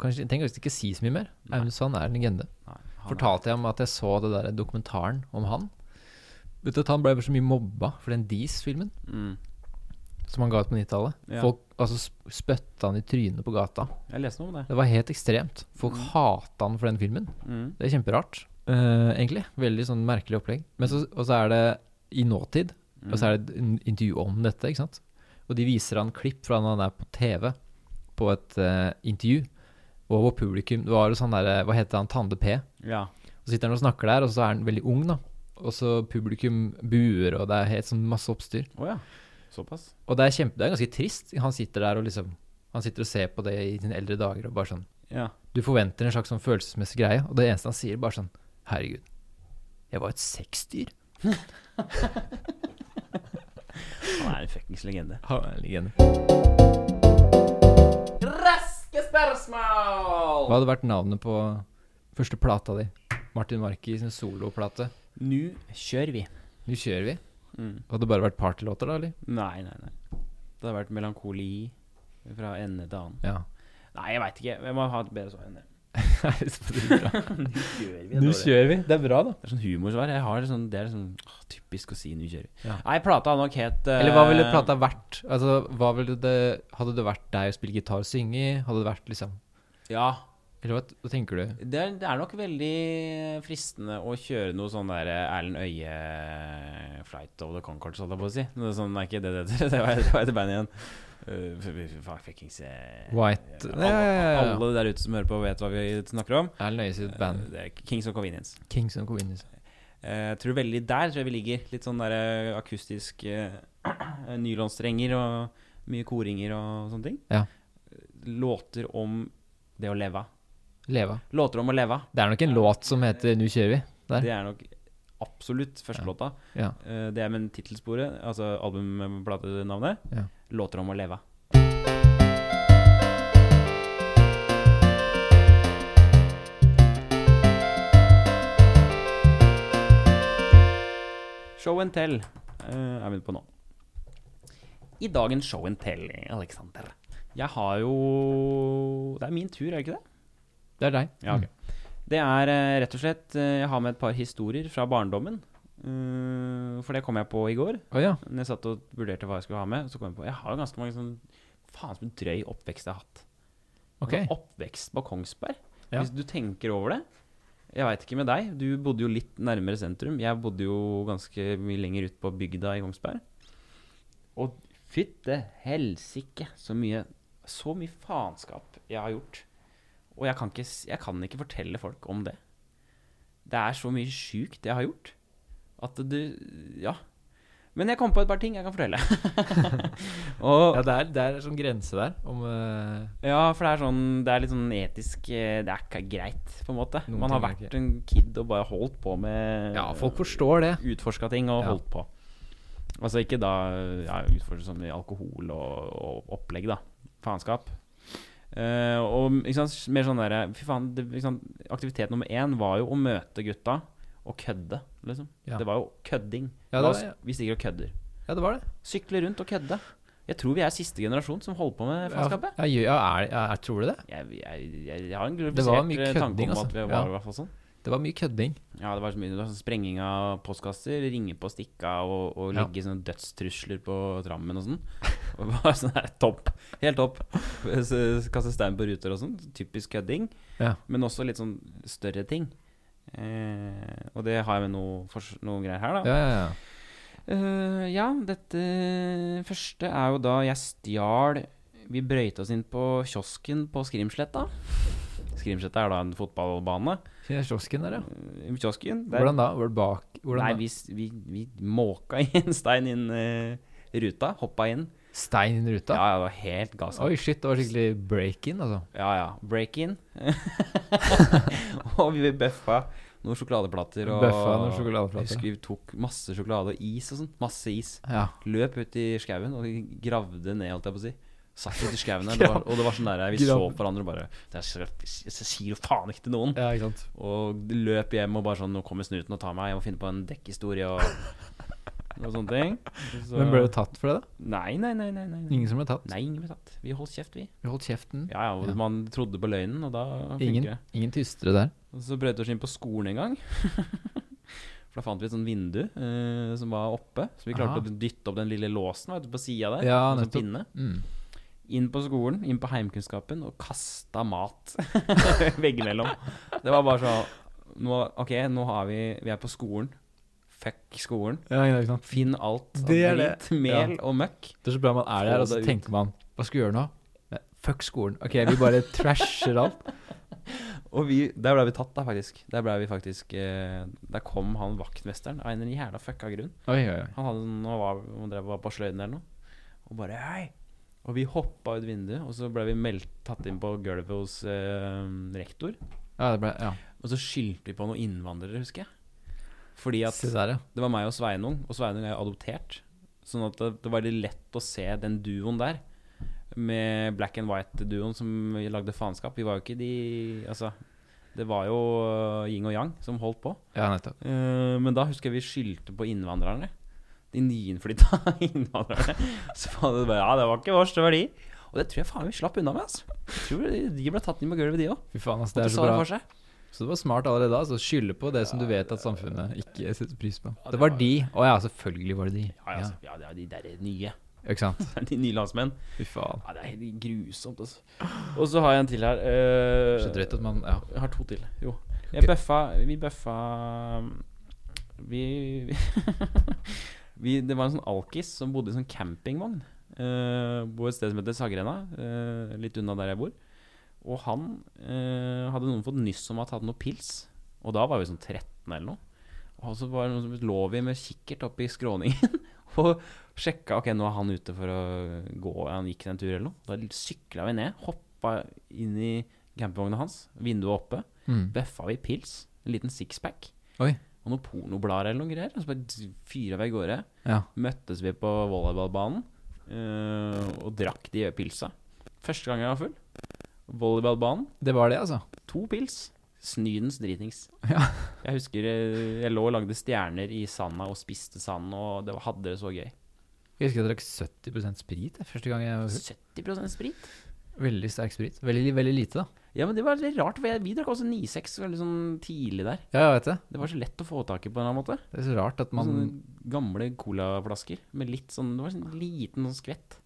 Kanskje, trenger kanskje ikke si så mye mer.
Nei.
Aune Sand er en legende.
Nei, han er-
Fortalte jeg om at jeg så det der dokumentaren om han? Vet du at han ble så mye mobba for den Dis-filmen
Mm.
som han ga ut på 90-tallet?
Ja.
Folk altså, sp- spytta han i trynet på gata.
Jeg leste noe om det.
Det var helt ekstremt. Folk hata han for den filmen.
Mm.
Det er kjemperart, eh, egentlig. Veldig sånn merkelig opplegg. Men så, og så er det i nåtid, og så er det et in- intervju om dette, ikke sant. Og de viser han klipp fra når han er på TV, på et eh, intervju. Og hvor publikum Det var jo sånn derre Hva heter han? Tande P.
Ja.
Og sitter han og snakker der, og så er han veldig ung, da. Og så publikum buer, og det er helt sånn masse oppstyr.
Å ja. Såpass.
Og det er, kjempe, det er ganske trist. Han sitter der og liksom Han sitter og ser på det i sine eldre dager og bare sånn
Ja.
Du forventer en slags sånn følelsesmessig greie, og det eneste han sier, bare sånn Herregud, jeg var et sexdyr.
Han er en fuckings legende.
Han er en legende.
Raske spørsmål!
Hva hadde vært navnet på første plata di? Martin Marki sin soloplate.
Nå kjører vi.
Nå kjører vi.
Mm.
Hadde det bare vært partylåter, da, eller?
Nei, nei, nei. Det har vært melankoli fra ende til annen.
Ja.
Nei, jeg veit ikke. Jeg må ha et bedre svar enn det. Nå kjører vi. er
Nå
dårlig.
kjører vi. Det er bra, da.
Det er sånn humorsvar. Jeg har det sånn, det er sånn åh, typisk å si 'nå kjører vi'.
Ja.
Nei, plata hadde nok het eh,
Eller hva ville plata vært? Altså, hva ville det, hadde det vært deg å spille gitar og synge i? Hadde det vært liksom
Ja.
Eller hva, hva tenker du?
Det er, det er nok veldig fristende å kjøre noe sånn der eh, Erlend Øye Flight of the Concords, holdt jeg på å si. Noe sånn, nei, ikke det det heter. Det var det var et band igjen. Eh, f- f- f- Fuckings eh,
White
alle,
Ja, ja, ja. ja.
alle der ute som hører på, vet hva vi snakker om.
Erlend Øye sitt band.
Eh, Det er Kings of Convenience.
Kings of Convenience.
Eh, Jeg tror veldig der tror jeg vi ligger. Litt sånn der eh, akustisk eh, nylonstrenger og mye koringer og sånne ting. Eh,
Ja.
Låter om det å leve. av.
Leva.
Låter om å leve. av.
Det er nok en låt som heter 'Nu kjører vi'. Der.
Det er nok absolutt førstelåta.
Ja.
Eh, Det er med tittelsporet, altså albumplatenavnet.
Ja.
Låter om å leve. av. Show and tell eh, er vi på nå. I dagens show and tell, Alexander Jeg har jo Det er min tur, er det ikke det?
Det er deg.
Ja, ok. Det er eh, rett og slett eh, Jeg har med et par historier fra barndommen. Eh, for det kom jeg på i går.
Å ja.
Når jeg satt og vurderte hva jeg skulle ha med. Så kom jeg på Jeg har jo ganske mange sånn Faen, som en drøy oppvekst jeg har hatt.
Ok.
Altså, oppvekst på Kongsberg.
Ja.
Hvis du tenker over det Jeg veit ikke med deg. Du bodde jo litt nærmere sentrum. Jeg bodde jo ganske mye lenger ut på bygda i Kongsberg. Og fytte helsike så mye Så mye faenskap jeg har gjort. Og jeg kan, ikke, s- jeg kan ikke fortelle folk om det. Det er så mye sjukt jeg har gjort, at du Ja. Men jeg kom på et par ting jeg kan fortelle. og,
Ja, det er, det er sånn grense der om eh,
ja, for det er, sånn, det er litt sånn etisk eh, Det er ikke greit, på en måte.
Noen
Man har
ting er
vært
ikke-
en kid og bare holdt på med
Ja, folk forstår det.
Utforska ting og
Ja.
holdt på. Altså ikke da ja, utforska som i alkohol og, og opplegg, da. Faenskap. Eh, og ikke sant, mer sånn derre Fy faen, det, ikke sant, aktivitet nummer én var jo å møte gutta og kødde, liksom.
Ja.
Det var jo kødding. La
Ja, det
oss-
var-
Vi stiger og kødder.
Ja, det var det.
Sykle rundt og kødde. Jeg tror vi er siste generasjon som holder på med faenskapet.
Ja, ja, ja, er, ja, er, tror du det?
Jeg, jeg, jeg, jeg har en
Det var mye
glorifisert tanke om
kødding,
at
altså.
vi var
Ja.
i hvert fall sånn.
Det var mye kødding.
Ja, det var så mye det var sånn sprenging av postkasser, ringe på stikka og, og
Ja.
legge sånne dødstrusler på trammen og sånn. Og bare sånn der, topp. Helt topp. S- Kaste stein på ruter og sånn. Typisk kødding.
Ja.
Men også litt sånn større ting. Eh, og det har jeg med noe, fors- noe greier her, da.
Ja, ja, ja.
Eh, ja, dette første er jo da jeg stjal Vi brøyta oss inn på kiosken på Skrimsletta. Skrimsletta er da en fotballbane.
Fin er kiosken der, ja.
eh, I kiosken. der-
Hvordan da? Var det bak? Hvordan
Nei,
da?
vi, s- vi, vi måka inn stein inn eh, ruta. Hoppa inn.
Stein inn i ruta?
Ja, altså. ja, det var helt gass.
Oi, shit, det var skikkelig break-in, altså.
Ja, ja. Break in. og vi bøffa noen sjokoladeplater. Og
Bøffa noen sjokoladeplater.
Jeg Husker vi tok masse sjokolade og is og sånn. Masse is.
Ja.
Løp ut i skauen og gravde ned, holdt jeg på å si. Satt ut i skauen der, det var- og det var sånn der vi så
Grav-
på hverandre og bare Jeg skal- jeg sier jo faen ikke til noen.
ja, ikke sant.
Og løp hjem og bare sånn Nå kommer snuten og tar meg, jeg må finne på en dekkhistorie og og sånne ting. Så-
Men ble du tatt for det, da?
Nei, nei, nei. nei, nei, nei.
Ingen som ble tatt?
Nei, ingen ble tatt. Vi holdt kjeft, vi.
Vi holdt kjeften.
Ja, ja, og
Ja.
Man trodde på løgnen, og da funker
Ingen,
det.
ingen tystere der.
Og så brøt vi oss inn på skolen en gang. For da fant vi et sånt vindu eh, som var oppe, så vi klarte
Aha.
å dytte opp den lille låsen vet du, på sida der.
Ja,
med en sånn
nettopp.
pinne.
Mm.
inn på skolen, inn på heimkunnskapen, og kasta mat veggimellom. Det var bare sånn nå, OK, nå har vi Vi er på skolen. Fuck skolen.
Ja, ikke sant.
Finn alt av
Det er
dritt, mel og møkk.
Det er så bra man er
Få
der, og så
deg ut.
tenker man Hva skal vi gjøre nå? Nei, Fuck skolen. Ok, vi bare trasher alt.
Og vi, der ble vi tatt, da, faktisk. Der ble vi faktisk eh, Der kom han vaktmesteren av en eller annen jævla fucka grunn.
Oi, oi, oi.
Han hadde, noe- han var, han drev, var på sløyden eller noe. Og bare Hei, Og vi hoppa ut vinduet, og så ble vi meldt, tatt inn på gulvet hos eh, rektor.
Ja, det ble, ja.
Og så skyldte vi på noen innvandrere, husker jeg. Fordi at
Se der, ja.
det var meg og Sveinung, og Sveinung er jo adoptert. Sånn at det, det var litt lett å se den duoen der. Med black and white-duoen som vi lagde faenskap. Vi var jo ikke de Altså, det var jo øh, yin og yang som holdt på.
Ja, nettopp.
Eh, men da husker jeg vi skyldte på innvandrerne. De nyinnflytta innvandrerne. Så faen, det bare, ja, det var ikke vårs, det var de. Og det tror jeg faen vi slapp unna med. Altså. Jeg tror de- de ble tatt inn på gulvet, de òg.
Fy faen, altså,
Det
det er så
det
bra.
for seg.
Så du var smart allerede da, så skylde på det som du vet at samfunnet ikke setter pris på.
det
Det var
var-
de. Å ja, selvfølgelig var det de.
Ja, ja, altså, ja, det er de derre nye.
Ja, ikke sant?
De nye landsmenn.
Fy faen.
Ja, det er helt grusomt, altså. Og så har jeg en til her. eh,
Så drøyt at man Ja.
Jeg har to til. Jo.
Ok.
Jeg bøffa Vi bøffa um, Vi, vi, vi Det var en sånn alkis som bodde i sånn campingvogn. eh, på et sted som heter Saggrenda, eh, litt unna der jeg bor. Og han eh, hadde noen fått nyss om at han hadde noe pils. Og da var vi sånn 13 eller noe. Og så var det noen som lå vi med kikkert oppe i skråningen og sjekka Ok, nå er han ute for å gå. Han gikk en tur eller noe. Da sykla vi ned, hoppa inn i campingvogna hans, vinduet oppe.
Mm.
Bøffa vi pils, en liten sixpack
Oi.
og noen pornoblader eller noe greier. Og så bare fyra vi av gårde.
Ja.
Møttes vi på volleyballbanen eh, og drakk de pilsa. Første gang jeg var full. Volleyballbanen,
Det var det, altså.
to pils. Snydens dritings.
Ja.
Jeg husker eh, jeg lå og lagde stjerner i sanda og spiste sand, og det var, hadde det så gøy.
Jeg husker jeg drakk 70 sprit jeg, første gang jeg var full.
70 sprit?
Veldig sterk sprit. Veldig, veldig lite, da.
Ja, men det var litt rart, for jeg, vi drakk også 9-6 veldig sånn tidlig der.
Ja, jeg vet det. Sånn
Det var så lett å få tak i på en eller annen måte.
Det er så rart at man
Sånne gamle colaflasker med litt sånn Det var sånn liten sånn skvett.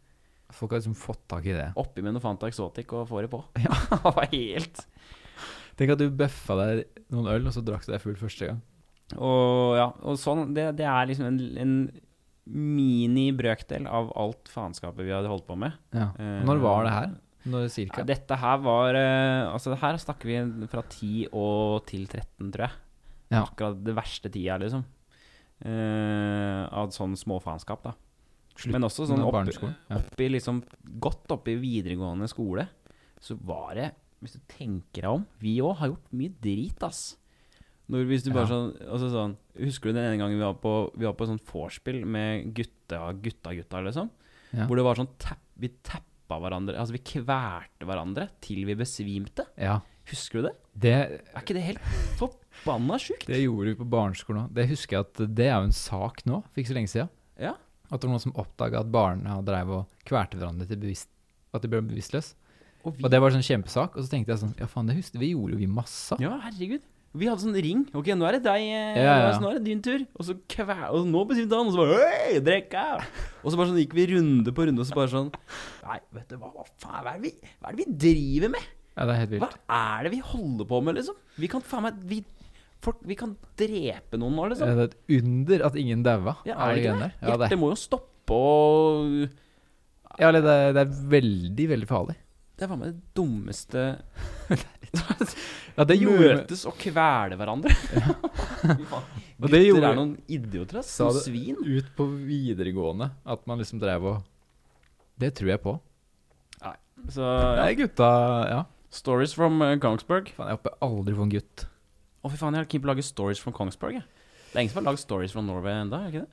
Folk har liksom fått tak i det.
Oppi med noe Fanta Exotic og får det på. Ja, det var helt
Tenk at du bøffa deg noen øl, og så drakk du deg full første gang.
Og ja, og sånn Det, det er liksom en, en mini-brøkdel av alt faenskapet vi hadde holdt på med.
Ja.
Eh,
Når var det her? Når cirka?
Ja, dette her var eh, Altså, det her snakker vi fra 10 og til 13, tror jeg.
Ja.
Akkurat det verste tida, liksom. Eh, av sånn småfaenskap, da.
Slutten
Men også sånn
av
opp,
barneskolen, ja.
oppi liksom Godt oppi videregående skole, så var det Hvis du tenker deg om Vi òg har gjort mye drit, ass. Når, hvis du bare
Ja.
sånn, altså sånn Husker du den ene gangen vi var på Vi var på sånn vorspiel med gutta, gutta, gutta, liksom?
Ja.
Hvor det var sånn tapp, Vi tappa hverandre Altså, vi kvelte hverandre til vi besvimte.
ja.
Husker du det?
Det
Er ikke det helt forbanna sjukt?
Det gjorde vi på barneskolen òg. Det husker jeg at det er jo en sak nå, for ikke så lenge siden.
Ja.
At det var noen som oppdaga at barna drev og kvalte hverandre til bevisst, at de ble bevisstløse.
Og vi
Og det var en sånn kjempesak. Og så tenkte jeg sånn Ja, faen, det husker vi gjorde jo vi masse. av.
Ja, herregud. Vi hadde sånn ring. Ok, nå er det deg, eh,
Ja, ja, ja.
nå er det din tur. Og så kvæ... Og nå besvimte han, og så bare Hei, drekka! Og så bare sånn gikk vi runde på runde, og så bare sånn Nei, vet du hva, hva faen, hva er det vi, hva er det vi driver med?
Ja, det er helt
Hva
vilt.
er det vi holder på med, liksom? Vi kan faen meg vi, folk, vi kan drepe noen nå,
Ja,
liksom.
det er et under at ingen daua.
Ja,
av
er det ikke
greiene
det?
der. Ja, det,
Hjertet må jo stoppe og
er- ja, eller det, er- det er veldig, veldig farlig.
Det var med det dummeste
Ja, det gjorde vi.
Møtes og kvele hverandre. Fy faen.
Og det
Gutter
gjorde-
er noen idioter, ass.
Sa
Noen
det-
svin.
Ut på videregående at man liksom drev og Det tror jeg på.
Så ja.
Nei, gutta Ja.
Stories from eh, Kongsberg.
Faen, jeg håper jeg aldri får en gutt.
Å, fy faen, jeg har keen på å lage stories from Kongsberg. Jeg. Det er ingen som har lagd stories from Norway ennå, er det ikke det?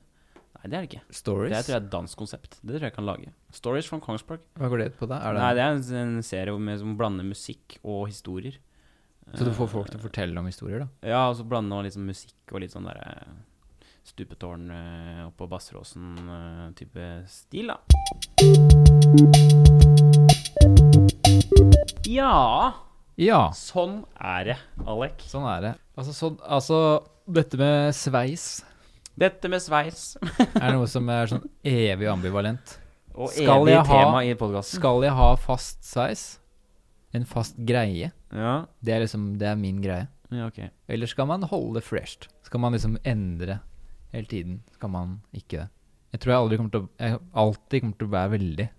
Nei, det er det ikke.
Stories?
Det tror jeg er et dansk konsept. Det tror jeg jeg kan lage. Stories from Kongsberg.
Hva går det ut på da? Er det
Nei, det er en, en serie med, som blander musikk og historier.
Så du får folk til å fortelle om historier, da?
Eh, Ja, og så blander man liksom musikk og litt sånn derre Stupetårn eh, oppå Basseråsen-type stil, da. Ja,
Ja.
sånn er det, Alek.
Sånn er det. Altså, sånn- altså dette med sveis
Dette med sveis
er noe som er sånn evig ambivalent.
og
Skal
evig
jeg ha-
tema i podkasten.
Skal jeg ha fast sveis? En fast greie?
Ja,
Det er liksom, det er min greie.
ja, ok.
Eller skal man holde det fresht? Skal man liksom endre hele tiden? Skal man ikke det? Jeg tror jeg aldri kommer til å Jeg alltid kommer til å være veldig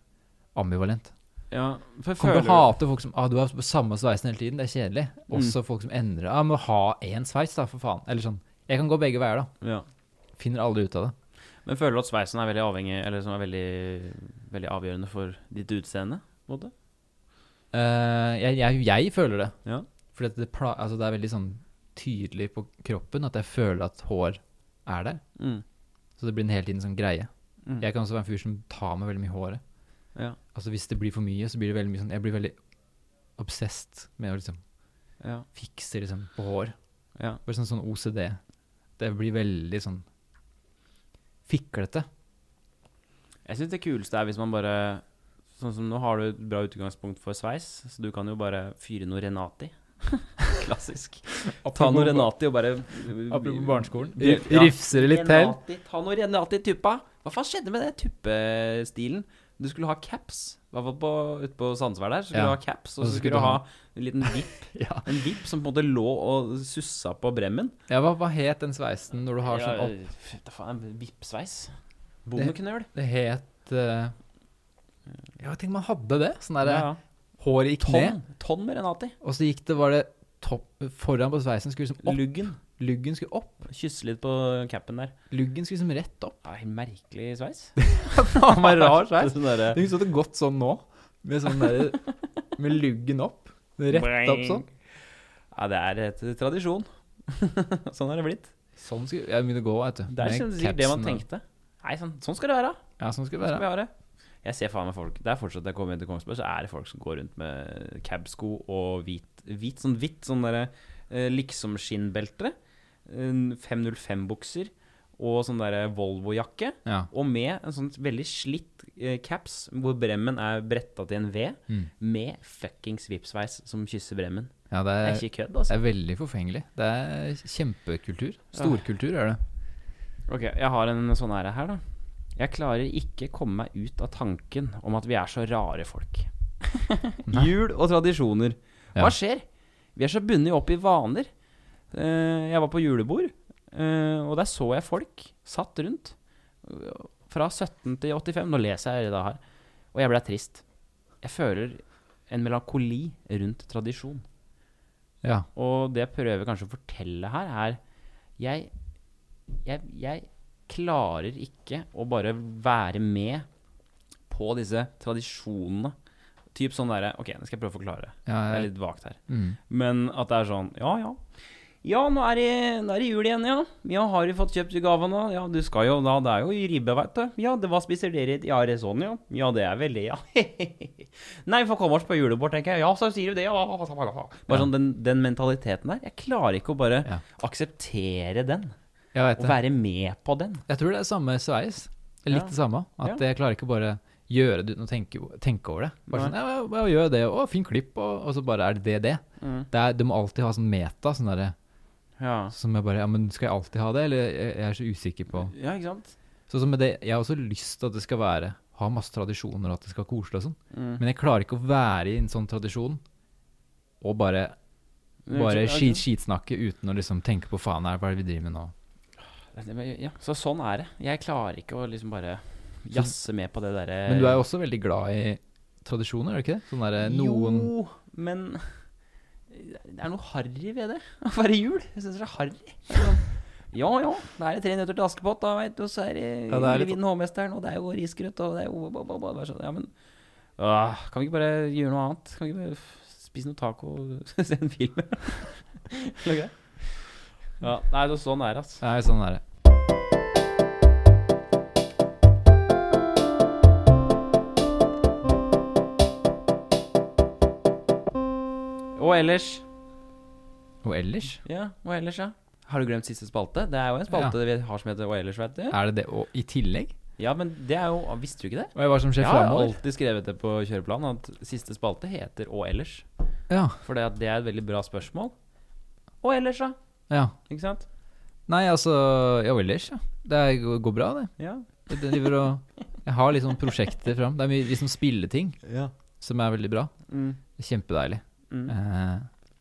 ambivalent.
Ja, for føler
Kommer
Mm.
til å hate folk som ah, du har samme sveisen hele tiden, det er kjedelig. Også folk som endrer. Ja, ah, men ha én sveis, da, for faen. Eller sånn. Jeg kan gå begge veier, da.
du, ja.
Finner aldri ut av det.
Men føler du at sveisen er veldig avhengig Eller som er veldig veldig avgjørende for ditt utseende. på en Måte.
Eh, jeg, jeg, jeg føler det.
Ja.
For det, pla altså, det er veldig sånn tydelig på kroppen at jeg føler at hår er der.
Mm.
Så det blir en hele tiden sånn greie.
Mm.
Jeg kan også være en fyr som tar meg veldig mye i håret.
Ja.
Altså Hvis det blir for mye, så blir det veldig mye sånn Jeg blir veldig obsessed med å liksom
Ja.
fikse liksom på hår.
Ja.
Bare sånn, sånn OCD. Det blir veldig sånn fiklete.
Jeg syns det kuleste er hvis man bare Sånn som nå har du et bra utgangspunkt for sveis, så du kan jo bare fyre noe Renati. Klassisk. Ta noe Renati og bare eh,
Apropos barneskolen.
Ja.
Rif- Rifser det litt til.
Renati, ta noe Renati tuppa. Hva faen skjedde med den tuppestilen? Du skulle ha caps. I hvert fall på- ute på Sandsvær der. Så skulle
Ja.
du ha caps, og så skulle du ha en liten vipp.
Ja.
En vipp som på en måte lå og sussa på bremmen.
Ja, hva, hva het den sveisen når du har sånn opp...
Ja, fy, da faen, en vippsveis. Bondeknøl.
Det het eh, Ja, jeg tenker man hadde det. Sånn der
Ja, ja.
håret i kne,
Tonn. Tonn med Renati.
og så gikk det, var det topp Foran på sveisen skulle liksom opp.
Luggen.
Luggen skulle opp.
Kysse litt på capen der.
Luggen skulle liksom rett opp.
Nei, merkelig sveis.
Faen meg rar sveis.
Sånn derre-
Det kunne stått godt sånn nå, med sånn der Med luggen opp. Rett opp sånn.
Ja, det er et tradisjon. sånn har det blitt.
Sånn skulle jeg begynne å gå, vet du.
Det er
med
sånn sikkert det man
capsen og-
tenkte. Nei, sånn, sånn skal det være.
Ja, sånn skulle
Sånn
det
skal
være.
vi ha det. Jeg ser faen meg folk Det er fortsatt jeg kommer inn til Kongsberg, så er det folk som går rundt med cab-sko og hvit, hvit sånn hvitt sånn derre eh, liksom-skinnbelte. en 505-bukser og sånn derre Volvo-jakke.
Ja.
Og med en sånn veldig slitt eh, caps hvor bremmen er bretta til en V,
Mm.
med fuckings vippsveis som kysser bremmen.
ja, det
Det
er
er ikke kødd, altså.
Det er veldig forfengelig. Det er kjempekultur. Storkultur er det.
Ok, jeg har en sånn her, her da Jeg klarer ikke komme meg ut av tanken Om at vi er så rare folk
Nei.
Jul og tradisjoner
Ja.
Hva skjer? Vi er så bunnet opp i vaner Eh, Jeg var på julebord eh, Og der så jeg folk Satt rundt eh, Fra 17 til 85 Nå leser jeg det her Og jeg ble trist Jeg føler en melankoli rundt tradisjon
Ja.
og det jeg prøver kanskje å fortelle her, er jeg, jeg, jeg klarer ikke å bare være med på disse tradisjonene. Typ sånn derre Ok, nå skal jeg prøve å forklare.
ja
Det er
jeg,
litt vagt her.
mm.
Men at det er sånn Ja, ja. Ja, nå er, det, nå er det jul igjen, ja. Ja, Har du fått kjøpt gavene? Ja, du skal jo da, det er jo i ribbe, veit du. Ja, det, hva spiser dere? Ja, er det sånn, ja. Ja, det er veldig, ja. Nei, vi får komme oss på julebord, tenker jeg. Ja, så sier du det, ja. Bare sånn, den, den mentaliteten der. Jeg klarer ikke å bare
Ja.
akseptere den.
jeg vet
Og
det.
være med på den.
Jeg tror det er samme sveis. Det er
Ja.
Litt det samme. At jeg klarer ikke bare gjøre det uten å tenke, tenke over det. Bare sånn,
Nei.
ja, ja, bare gjør det, og fint klipp, og, og så bare er det det. det.
Mm.
det er, du må alltid ha sånn meta, sånn derre
Ja.
som jeg bare Ja, men skal jeg alltid ha det, eller jeg, jeg er så usikker på
ja, ikke sant?
Sånn som med det, jeg har også lyst til at det skal være ha masse tradisjoner og at det skal være koselig og sånn,
Mm.
men jeg klarer ikke å være i en sånn tradisjon og bare
Ja,
Bare
ikke-
skit, skitsnakke uten å liksom tenke på faen her, hva er det vi driver med nå?
Ja, så sånn er det. Jeg klarer ikke å liksom bare jazze med på det derre
Men du er jo også veldig glad i tradisjoner, er du ikke det? Sånn
Eh,
derre noen
Jo, men det er noe harry ved det. Å være jul. Jeg syns det er harry. Sånn, Ja ja, da er det tre nøtter til Askepott, da veit du, og så er det
Ja, det er litt-
Levin Hovmesteren, og det er jo risgrøt, og det er jo ba, ba, ba, bare sånn, Ja, men ah, Kan vi ikke bare gjøre noe annet? Kan vi ikke bare f- spise noe taco og se en film? Eller greit? Ja, nei, det er sånn det er, altså.
Nei, sånn er det.
Og ellers
Og ellers
Ja, og ellers, ja. Har du glemt siste spalte? Det er jo en spalte vi har som heter Og ellers, vet du.
er det det, og i tillegg
Ja, men det er jo Visste du ikke det?
Og jeg var som sjef
Jeg har
fremover.
alltid skrevet det på kjøreplanen at siste spalte heter Og ellers.
Ja,
For det, at det er et veldig bra spørsmål. Og ellers, da?
ja.
Ikke sant?
Nei, altså Ja, og ellers, ja. Det er, går- går bra, det.
Ja.
Jeg driver og Jeg har litt sånn prosjekter fram. Det er mye liksom spilleting som er veldig bra.
Mm.
Kjempedeilig.
Mm.
Eh,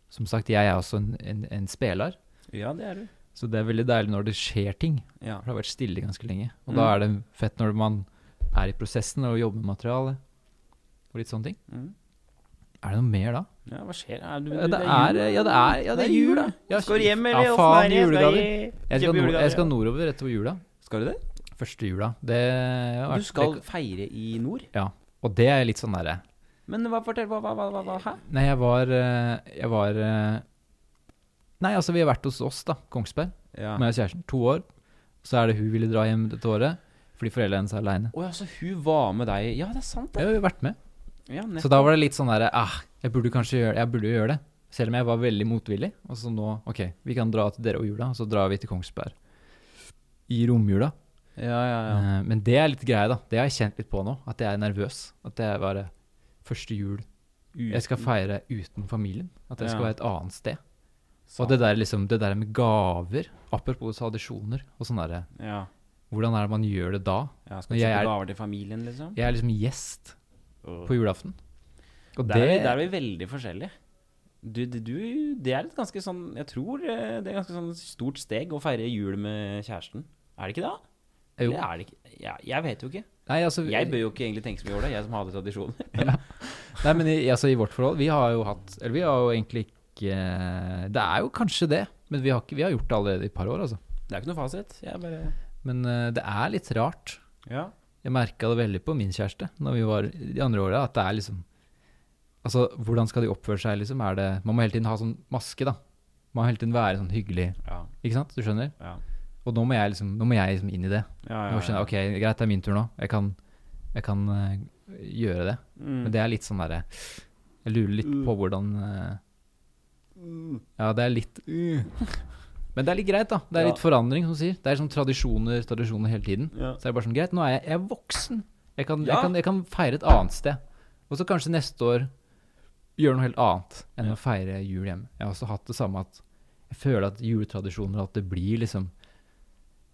som sagt, jeg er også en, en, en speler,
ja, det er du.
så det er veldig deilig når det skjer ting.
Ja.
For det har vært stille ganske lenge. Og
Mm.
da er det fett når man er i prosessen og jobber med materiale og litt sånne ting.
Mm.
Er det noe mer da?
ja, hva skjer? Er du,
Ja, det er, ja, det er, ja, det er jul, da.
da. Skal du hjem,
Ja,
eller?
faen,
åssen er det?
julegaver.
Jeg skal
Jeg skal,
i-
nord,
kjøpe
jeg skal
julegaver,
nordover etter jula.
ja. Skal du det?
Første jula. Det har vært-
Du skal
det,
feire i nord?
Og det er litt sånn derre
Men hva, fortell, hva, hva, hva, hva, hva? Hæ?
Nei, jeg var eh, Jeg var eh, Nei, altså, vi har vært hos oss, da. Kongsberg.
Ja.
Med kjæresten. To år. Så er det hun ville dra hjem dette året fordi foreldrene hennes er aleine.
Å ja, så hun var med deg Ja, det er sant, det.
Jeg har jo vært med.
Ja,
Så da var det litt sånn derre ah, Jeg burde kanskje gjøre det. Jeg burde jo gjøre det. Selv om jeg var veldig motvillig. Og så nå OK, vi kan dra til dere og jula, og så drar vi til Kongsberg. I romjula.
ja, ja, ja.
Eh, Men det er litt greia, da. Det har jeg kjent litt på nå. At jeg er nervøs. At det er bare første jul Jeg skal feire uten familien. At jeg
Ja.
skal være et annet sted. Og det der, liksom, det der med gaver, apropos tradisjoner og sånn derre
Ja.
Hvordan er det man gjør det da?
ja skal
Men
du
jeg
kjøpe
er-
gaver til familien, liksom?
Jeg er liksom gjest
Åh.
på julaften. Og
Der, Mm. er vi,
det-
der er vi veldig forskjellige. Du, du, du, det er et ganske sånn Jeg tror eh, det er et ganske sånn stort steg å feire jul med kjæresten. Er det ikke det?
Jo.
Eller er det ikke? Ja, jeg vet jo ikke.
Nei, altså,
Jeg bør jo ikke egentlig tenke så mye over det, jeg som hadde tradisjoner.
Nei, men i, altså, i vårt forhold, vi har jo hatt Eller vi har jo egentlig ikke Det er jo kanskje det, men vi har, ikke, vi har gjort det allerede i et par år, altså.
Det er ikke noe fasit. Jeg bare
Men eh, det er litt rart.
Ja.
Jeg merka det veldig på min kjæreste når vi var de andre åra, at det er liksom Altså, hvordan skal de oppføre seg, liksom? Er det Man må hele tiden ha sånn maske, da. Man må hele tiden være sånn hyggelig,
Ja.
ikke sant? Du skjønner?
Ja.
Og nå må jeg liksom, nå må jeg liksom inn i det.
ja,
Nå skjønner jeg, ok, greit, det er min tur nå. Jeg kan, jeg kan eh, gjøre det.
Mm.
Men det er litt sånn derre Jeg lurer litt på hvordan eh,
Mm.
Ja, det er litt Men det er litt greit, da. Det er
Ja.
litt forandring, som du sier. Det er sånn tradisjoner, tradisjoner hele tiden.
Ja.
Så det er bare sånn greit, nå er jeg, jeg er voksen. Jeg kan,
Ja.
jeg, kan, jeg kan feire et annet sted. Og så kanskje neste år gjøre noe helt annet enn å feire jul hjemme. Jeg har også hatt det samme at jeg føler at juletradisjoner At det blir liksom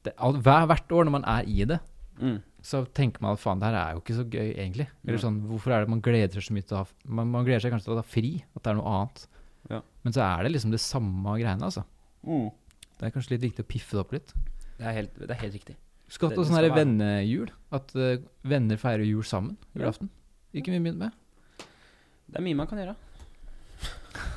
det, al- hver, Hvert år når man er i det,
Mm.
så tenker man at faen, det her er jo ikke så gøy, egentlig.
Nei.
Eller sånn, hvorfor er det man gleder seg så mye til å ha Man, man gleder seg kanskje til å ha fri, at det er noe annet.
Ja.
Men så er det liksom det samme greiene, altså.
Mm.
Det er kanskje litt viktig å piffe det opp litt.
Det, er helt, det er helt riktig.
Skulle
Det- det
hatt sånn
skal
her
være-
vennejul. At eh, venner feirer jul sammen julaften. Ikke mye begynt med.
Det er mye man kan gjøre.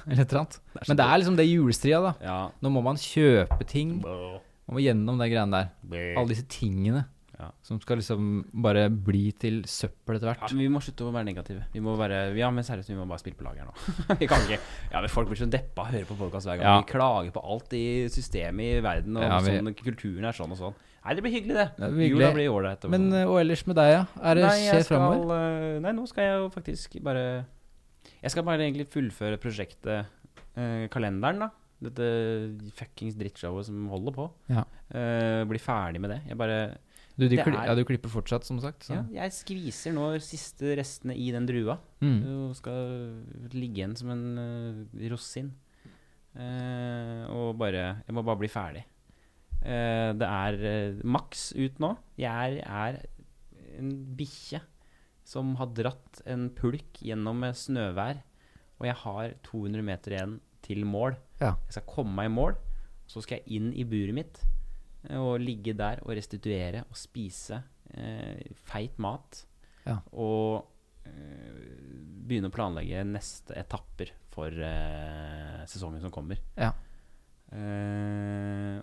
Eller et eller annet. Men det er liksom det julestria, da.
Ja.
Nå må man kjøpe ting. Man må gjennom de greiene der. Alle disse tingene
Ja.
som skal liksom bare bli til søppel etter
Ja,
hvert.
men vi må slutte å være negative. Vi må være, ja, men seriøst, vi må bare spille på lag her nå. vi kan ikke Ja, men Folk blir så deppa hører på podkast hver gang.
Ja.
Vi klager på alt i systemet i verden, og
Ja, vi-
sånn, kulturen er sånn og sånn. Nei, det blir hyggelig, det.
Det blir hyggelig.
Jula blir ålreit. og
Men
sånn.
eh, og ellers med deg, ja? Er det
Nei, jeg
skjer
skal,
framover?
eh, Nei, nå skal jeg jo faktisk bare Jeg skal bare egentlig fullføre prosjektet eh, Kalenderen, da. Dette fuckings drittshowet som holder på.
Ja.
Eh, bli ferdig med det. Jeg bare
Du, de
Det
kli,
er-
ja, du klipper fortsatt, som sagt. Så.
ja, Jeg skviser nå siste restene i den drua.
Mm.
Og skal ligge igjen som en eh, rosin. Eh, og bare Jeg må bare bli ferdig. Eh, det er eh, maks ut nå. Jeg er, er en bikkje som har dratt en pulk gjennom eh, snøvær. Og jeg har 200 meter igjen til mål.
Ja.
Jeg skal komme meg i mål. Så skal jeg inn i buret mitt eh, og ligge der og restituere og spise eh, feit mat.
Ja.
Og eh, begynne å planlegge neste etapper for eh, sesongen som kommer.
Ja.
Eh,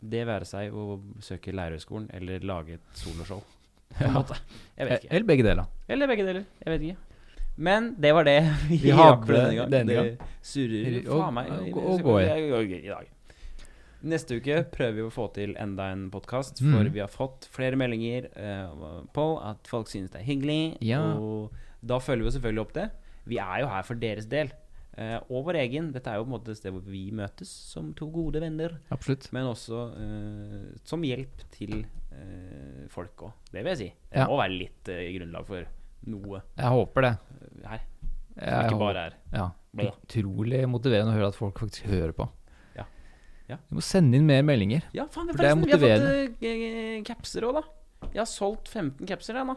det være seg å søke lærerhøgskolen eller lage et soloshow. På en
Ja.
måte. Jeg vet ikke.
Eh, Eller begge deler.
Eller begge deler. Jeg vet ikke. Men det var det vi,
Vi
rakk for
hadde
denne gang.
denne gang.
Det surrer
Og-
faen meg.
og- og går.
Jeg går i dag. Neste uke prøver vi å få til enda en podkast,
Mm.
for vi har fått flere meldinger eh, på at folk synes det er hyggelig.
Ja.
Og da følger vi jo selvfølgelig opp det. Vi er jo her for deres del. eh, og vår egen. Dette er jo på en måte et sted hvor vi møtes som to gode venner.
Absolutt.
Men også eh, som hjelp til eh, folk òg. Det vil jeg si. Det
Ja.
må være litt eh, grunnlag for noe
Jeg håper det.
eh, her.
Jeg,
Som ikke
håper-
bare er
ja.
Bra.
Utrolig motiverende å høre at folk faktisk hører på.
Ja. Ja.
Du må sende inn mer meldinger.
Ja, faen, vi,
For det er
forresten, vi har fått eh, capser òg, da. Jeg har solgt 15 capser jeg, nå.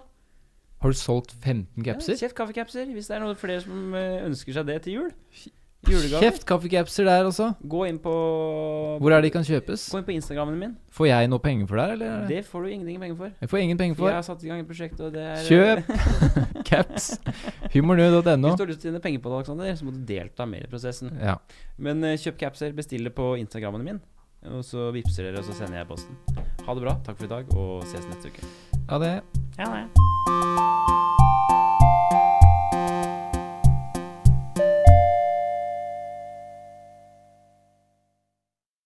Har du solgt 15 capser?
Ja, kjeft kaffecapser. Hvis det er noen flere som eh, ønsker seg det til jul. Julegave.
Kjeft kaffecapser der også.
Gå inn på
Hvor er de kan kjøpes?
Gå inn på Instagrammen min.
Får jeg noe penger for det, her, eller?
Det får du ingenting penger for.
Jeg får ingen penger
For jeg
for.
har satt i gang et prosjekt, og det er eh,
Kjøp caps. Humornu.no.
Hvis du har lyst til å tjene penger på det, Alexander, så må du delta mer i prosessen.
Ja.
Men eh, kjøp capser, bestill det på Instagrammen min. Og så vippser dere, og så sender jeg posten. Ha det bra. Takk for i dag, og ses neste uke.
Ha det.
Ja, det.